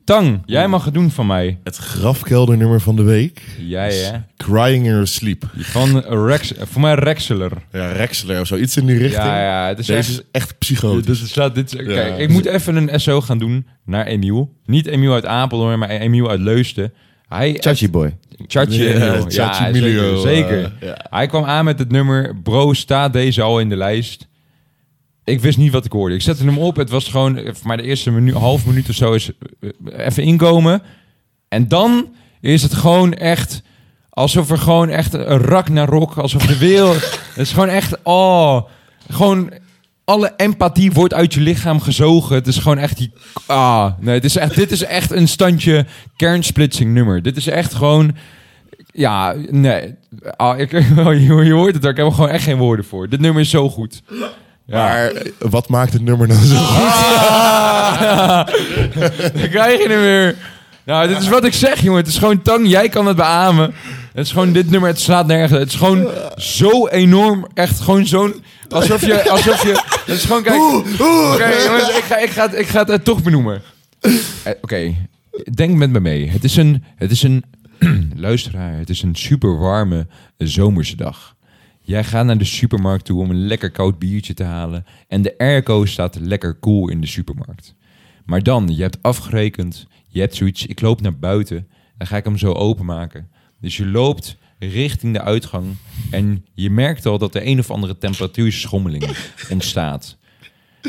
[SPEAKER 3] Tang, jij mag het doen van mij.
[SPEAKER 4] Het grafkeldernummer van de week.
[SPEAKER 3] Jij, hè?
[SPEAKER 4] Crying in your sleep.
[SPEAKER 3] Van Rex, voor mij Rexeler.
[SPEAKER 4] Ja, Rexler of zo. Iets in die richting.
[SPEAKER 3] Ja, ja, het is
[SPEAKER 4] Deze
[SPEAKER 3] echt-
[SPEAKER 4] is echt psychotisch.
[SPEAKER 3] Dus het slaat dit. Kijk,
[SPEAKER 4] Ja.
[SPEAKER 3] ik moet even een SO gaan doen naar Emiel. Niet Emiel uit Apeldoorn, maar Emiel uit Leusden. Hij,
[SPEAKER 1] Chachi boy.
[SPEAKER 3] Chachi
[SPEAKER 4] Ja,
[SPEAKER 3] Emilio.
[SPEAKER 4] Chachi
[SPEAKER 3] ja,
[SPEAKER 4] Emilio,
[SPEAKER 3] Zeker.
[SPEAKER 4] eh,
[SPEAKER 3] zeker.
[SPEAKER 4] ja.
[SPEAKER 3] Hij kwam aan met het nummer. Bro, staat deze al in de lijst? Ik wist niet wat ik hoorde. Ik zette hem op. Het was gewoon eh, voor mij de eerste minu half minuut of zo is eh, eh, even inkomen. En dan is het gewoon echt alsof er gewoon echt een rak naar rok. Alsof de wereld. [laughs] het is gewoon echt. Oh, gewoon. Alle empathie wordt uit je lichaam gezogen. Het is gewoon echt die. Ah, nee, het is echt, dit is echt een standje kernsplitsing nummer. Dit is echt gewoon. Ja, nee. Ah, ik, [laughs] je, je hoort het er. Ik heb er gewoon echt geen woorden voor. Dit nummer is zo goed. Ja.
[SPEAKER 4] Maar eh, wat maakt het nummer nou zo goed?
[SPEAKER 3] Dan krijg je hem weer. Nou, dit is wat ik zeg, jongen. Het is gewoon tang. Jij kan het beamen. Het is gewoon dit nummer. Het slaat nergens. Het is gewoon zo enorm. Echt gewoon zo'n... Alsof je... Alsof je het is gewoon... Kijk, Oké, jongens. Ik ga, ik, ga het, ik ga het eh, toch benoemen. Eh, Oké. Denk met me mee. Het is een... Het is een... luisteraar. Het is een super warme zomerse dag. Jij gaat naar de supermarkt toe om een lekker koud biertje te halen. En de airco staat lekker koel in de supermarkt. Maar dan, je hebt afgerekend. Je hebt zoiets. Ik loop naar buiten. Dan ga ik hem zo openmaken. Dus je loopt richting de uitgang. En je merkt al dat er een of andere temperatuurschommeling ontstaat.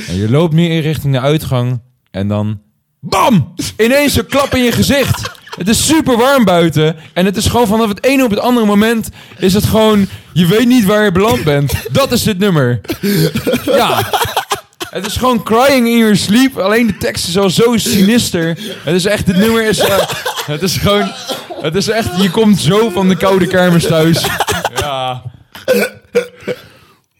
[SPEAKER 3] En je loopt meer richting de uitgang. En dan. BAM! Ineens een klap in je gezicht. Het is super warm buiten. En het is gewoon vanaf het ene op het andere moment. Is het gewoon. Je weet niet waar je beland bent. Dat is dit nummer. Ja. Het is gewoon crying in your sleep. Alleen de tekst is al zo sinister. Het is echt, dit nummer is. eh, het is gewoon. Het is echt, je komt zo van de koude kermis thuis. Ja.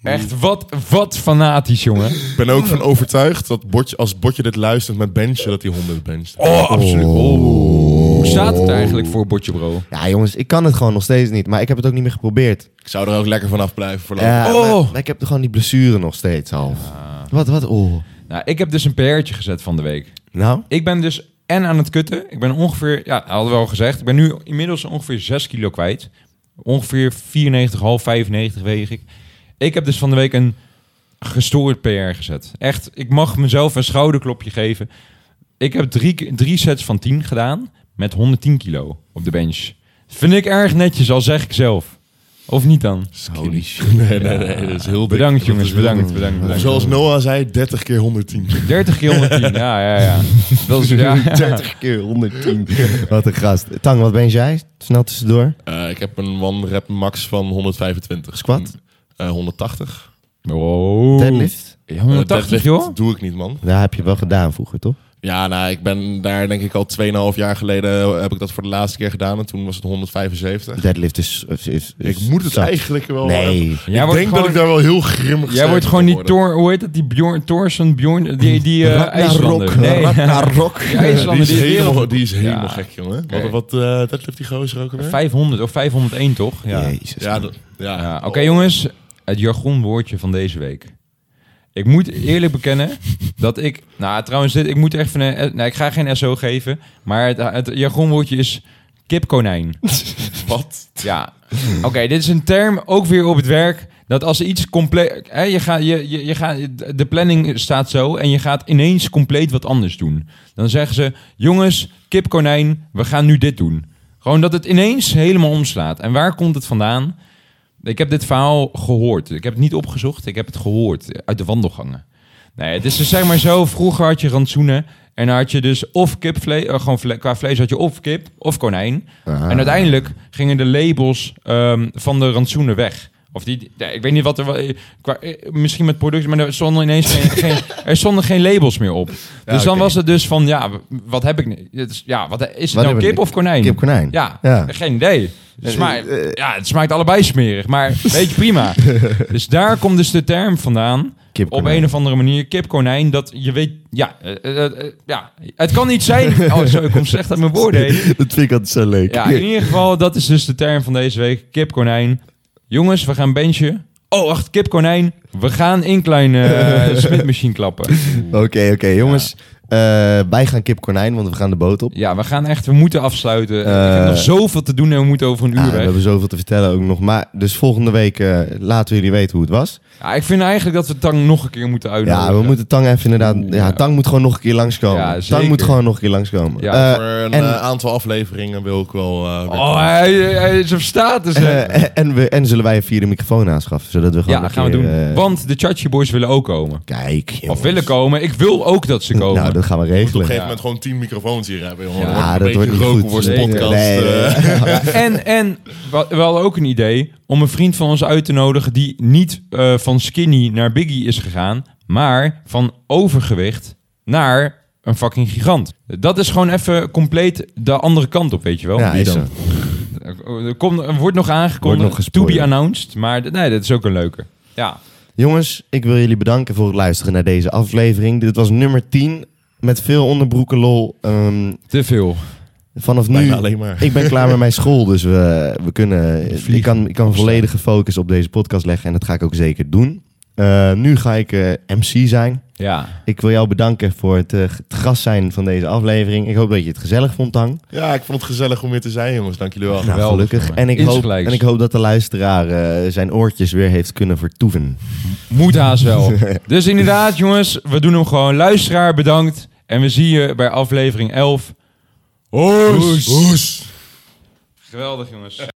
[SPEAKER 3] Echt, wat, wat fanatisch, jongen.
[SPEAKER 4] Ik ben ook van overtuigd dat Botje, als Botje dit luistert met Benje, dat hij 100 bencht.
[SPEAKER 3] Oh, absoluut. Hoe staat het eigenlijk voor Botje Bro?
[SPEAKER 1] Ja, jongens, ik kan het gewoon nog steeds niet. Maar ik heb het ook niet meer geprobeerd.
[SPEAKER 4] Ik zou er ook lekker vanaf blijven voorlopig.
[SPEAKER 1] Ja,
[SPEAKER 3] Oh.
[SPEAKER 1] maar- maar ik heb gewoon die blessure nog steeds half. Wat, wat, oh.
[SPEAKER 3] Nou, ik heb dus een PR'tje gezet van de week.
[SPEAKER 1] Nou?
[SPEAKER 3] Ik ben dus en aan het kutten. Ik ben ongeveer, ja, hadden we al gezegd. Ik ben nu inmiddels ongeveer 6 kilo kwijt. Ongeveer 94, half 95 weeg ik. Ik heb dus van de week een gestoord PR gezet. Echt, ik mag mezelf een schouderklopje geven. Ik heb drie, ke- drie sets van 10 gedaan met 110 kilo op de bench. Vind ik erg netjes, al zeg ik zelf. Of niet dan?
[SPEAKER 4] Holy shit. Nee, nee, nee, dat is heel dik.
[SPEAKER 3] Bedankt
[SPEAKER 4] Dat
[SPEAKER 3] jongens,
[SPEAKER 4] is heel
[SPEAKER 3] bedankt,
[SPEAKER 4] dik.
[SPEAKER 3] bedankt, bedankt.
[SPEAKER 4] Zoals Noah zei, 30 keer 110.
[SPEAKER 3] 30 keer 110, ja, ja, ja. Dat is, ja,
[SPEAKER 4] [laughs]
[SPEAKER 1] [laughs]
[SPEAKER 3] ja.
[SPEAKER 1] 30 keer 110. wat een gast. Tang, wat ben jij? Snel tussendoor.
[SPEAKER 4] Eh, ik heb een one rep max van 125.
[SPEAKER 1] Squat?
[SPEAKER 4] Eh, 180.
[SPEAKER 3] Wow.
[SPEAKER 1] Deadlift?
[SPEAKER 3] Ja, 180
[SPEAKER 4] Eh, deadlift
[SPEAKER 3] joh.
[SPEAKER 4] doe ik niet, man.
[SPEAKER 1] Dat heb je wel gedaan vroeger, toch?
[SPEAKER 4] Ja, nou, ik ben daar denk ik al 2,5 jaar geleden eh, heb ik dat voor de laatste keer gedaan. En toen was het 175.
[SPEAKER 1] Deadlift is... is, is-
[SPEAKER 4] Ik
[SPEAKER 1] is
[SPEAKER 4] moet het
[SPEAKER 1] zat.
[SPEAKER 4] eigenlijk wel...
[SPEAKER 1] Nee.
[SPEAKER 4] Ik
[SPEAKER 3] Jij
[SPEAKER 4] denk
[SPEAKER 3] wordt
[SPEAKER 4] dat
[SPEAKER 3] gewoon-
[SPEAKER 4] ik daar wel heel grimmig
[SPEAKER 3] Jij wordt
[SPEAKER 4] sterk
[SPEAKER 3] gewoon
[SPEAKER 4] van
[SPEAKER 3] die
[SPEAKER 4] word.
[SPEAKER 3] Thor, hoe heet dat? Die Bjorn Thorsen, Bjorn, die, die eh IJslander.
[SPEAKER 1] Ragnarok.
[SPEAKER 3] Nee,
[SPEAKER 1] Ragnarok.
[SPEAKER 3] Die IJslander
[SPEAKER 4] Die
[SPEAKER 3] die
[SPEAKER 4] is
[SPEAKER 3] de
[SPEAKER 4] helemaal,
[SPEAKER 3] wereld-
[SPEAKER 4] die is helemaal
[SPEAKER 3] Ja.
[SPEAKER 4] gek, jongen.
[SPEAKER 3] Oké.
[SPEAKER 4] Wat, wat eh, dat heeft die gozer ook alweer?
[SPEAKER 3] 500 of 501 toch? Ja.
[SPEAKER 1] Jezus.
[SPEAKER 4] Ja, dat- ja.
[SPEAKER 3] Ja, Oké jongens, het jargonwoordje van deze week. Ik moet eerlijk bekennen dat ik... Nou trouwens, dit, ik moet echt van... een- Nou, ik ga geen SO geven, maar het, het jargonwoordje is kipkonijn.
[SPEAKER 1] [laughs]
[SPEAKER 4] Wat?
[SPEAKER 3] [laughs] Ja. Oké, dit is een term, ook weer op het werk, dat als iets compleet... Hè, je gaat, je, je, je gaat, de planning staat zo en je gaat ineens compleet wat anders doen. Dan zeggen ze, jongens, kipkonijn, we gaan nu dit doen. Gewoon dat het ineens helemaal omslaat. En waar komt het vandaan? Ik heb dit verhaal gehoord. Ik heb het niet opgezocht, ik heb het gehoord uit de wandelgangen. Nee, het is dus zeg maar zo, vroeger had je rantsoenen en dan had je dus of kipvlees, eh, gewoon vle- qua vlees had je of kip of konijn. En uiteindelijk gingen de labels ehm, van de rantsoenen weg. Of die, ja, ik weet niet wat er wa- eh, qua, eh, misschien met producten, maar er stonden
[SPEAKER 1] [laughs]
[SPEAKER 3] ineens geen, geen- er stonden geen labels meer op. Dus dan
[SPEAKER 4] oké.
[SPEAKER 3] was het dus van, ja, w- wat heb ik, nu? Het is- ja, wat, is
[SPEAKER 1] Wat
[SPEAKER 3] het nou
[SPEAKER 1] hebben we
[SPEAKER 3] kip
[SPEAKER 1] nu?
[SPEAKER 3] of konijn?
[SPEAKER 1] Kip, konijn.
[SPEAKER 3] Ja,
[SPEAKER 1] Ja. Eh,
[SPEAKER 3] geen idee. Het smaakt, ja, het smaakt allebei smerig,
[SPEAKER 1] [laughs]
[SPEAKER 3] maar weet je, prima. Dus daar komt dus de term vandaan.
[SPEAKER 1] Kip,
[SPEAKER 3] op
[SPEAKER 1] konijn.
[SPEAKER 3] een of andere manier, kip, konijn, dat je weet... Ja, eh, eh, eh, ja het kan niet zijn...
[SPEAKER 1] [laughs]
[SPEAKER 3] Oh, zo, ik kom slecht uit mijn woorden heen.
[SPEAKER 1] [laughs] Dat vind ik altijd zo leuk.
[SPEAKER 3] Ja, in ieder geval, dat is dus de term van deze week. Kip, konijn. Jongens, we gaan benchen. Oh, wacht, kip, konijn. We gaan
[SPEAKER 1] [laughs]
[SPEAKER 3] incline eh smidmachine klappen.
[SPEAKER 1] Oké, oké. jongens, Eh, wij gaan kip konijn, want we gaan de boot op.
[SPEAKER 3] Ja, we gaan echt... We moeten afsluiten.
[SPEAKER 1] Eh,
[SPEAKER 3] we hebben nog zoveel te doen en we moeten over een
[SPEAKER 1] Ja,
[SPEAKER 3] uur
[SPEAKER 1] Ah, we
[SPEAKER 3] weg.
[SPEAKER 1] hebben zoveel te vertellen ook nog. Maar dus volgende week eh, laten we jullie weten hoe het was.
[SPEAKER 3] Ja, ik vind eigenlijk dat we Tang nog een keer moeten uitnodigen.
[SPEAKER 1] Ja, we moeten Tang even inderdaad...
[SPEAKER 3] Oeh,
[SPEAKER 1] ja,
[SPEAKER 3] ja.
[SPEAKER 1] Tang moet gewoon nog een keer langskomen.
[SPEAKER 3] Ja,
[SPEAKER 1] Tang
[SPEAKER 3] zeker.
[SPEAKER 1] moet gewoon nog een keer langskomen.
[SPEAKER 3] Ja,
[SPEAKER 1] Eh,
[SPEAKER 4] Voor een
[SPEAKER 1] en-
[SPEAKER 4] eh, aantal afleveringen wil ik wel... eh, weer-
[SPEAKER 3] Oh, hij, hij is op status. hè.
[SPEAKER 1] eh, en- en, we, en zullen wij een vierde microfoon aanschaffen, zodat we gewoon
[SPEAKER 3] ja,
[SPEAKER 1] een
[SPEAKER 3] gaan we
[SPEAKER 1] keer,
[SPEAKER 3] doen.
[SPEAKER 1] eh,
[SPEAKER 3] Want de Chachi Boys willen ook komen.
[SPEAKER 1] Kijk, jongens.
[SPEAKER 3] Of willen komen. Ik wil ook dat ze
[SPEAKER 1] [laughs]
[SPEAKER 3] komen.
[SPEAKER 1] Nou, dat gaan we
[SPEAKER 4] op een
[SPEAKER 1] regelen.
[SPEAKER 4] gegeven moment gewoon tien microfoons hier hebben, jongen.
[SPEAKER 3] Ja,
[SPEAKER 4] wordt
[SPEAKER 1] Ja,
[SPEAKER 4] een
[SPEAKER 1] dat
[SPEAKER 4] beetje
[SPEAKER 1] wordt niet
[SPEAKER 4] roken
[SPEAKER 1] goed.
[SPEAKER 4] voor zijn
[SPEAKER 3] Nee,
[SPEAKER 4] podcast.
[SPEAKER 1] nee, nee, [laughs]
[SPEAKER 4] eh.
[SPEAKER 3] En, en we we hadden ook een idee om een vriend van ons uit te nodigen die niet eh, van skinny naar biggie is gegaan, maar van overgewicht naar een fucking gigant. Dat is gewoon even compleet de andere kant op, weet je wel.
[SPEAKER 1] Ja,
[SPEAKER 3] Wie
[SPEAKER 1] is
[SPEAKER 3] dan?
[SPEAKER 1] zo.
[SPEAKER 3] Er komt- er wordt nog aangekondigd,
[SPEAKER 1] Wordt nog
[SPEAKER 3] to
[SPEAKER 1] gespoilerd.
[SPEAKER 3] be announced, maar d- nee, dat is ook een leuke. Ja.
[SPEAKER 1] Jongens, ik wil jullie bedanken voor het luisteren naar deze aflevering. Dit was nummer 10 met veel onderbroeken lol. Ehm,
[SPEAKER 3] Te veel.
[SPEAKER 1] vanaf nu...
[SPEAKER 4] [laughs] Bijna alleen maar.
[SPEAKER 1] Ik ben klaar met mijn school, dus we, we kunnen,
[SPEAKER 3] Vliegen.
[SPEAKER 1] ik kan, ik kan volledige focus op deze podcast leggen. En dat ga ik ook zeker doen. Eh, nu ga ik eh, MC zijn.
[SPEAKER 3] Ja.
[SPEAKER 1] Ik wil jou bedanken voor het, eh, het gast zijn van deze aflevering. Ik hoop dat je het gezellig vond, Tang.
[SPEAKER 4] Ja, ik vond het gezellig om hier te zijn, jongens. Dank jullie wel.
[SPEAKER 1] Nou,
[SPEAKER 3] Geweldig,
[SPEAKER 1] gelukkig.
[SPEAKER 3] jongen.
[SPEAKER 1] En ik, hoop,
[SPEAKER 3] Insgelijks.
[SPEAKER 1] en ik hoop dat de luisteraar eh, zijn oortjes weer heeft kunnen vertoeven.
[SPEAKER 3] Moet haast
[SPEAKER 1] [laughs]
[SPEAKER 3] wel. dus inderdaad, jongens, we doen hem gewoon. Luisteraar, bedankt. En we zien je bij aflevering 11.
[SPEAKER 4] Hoes.
[SPEAKER 3] Geweldig, jongens.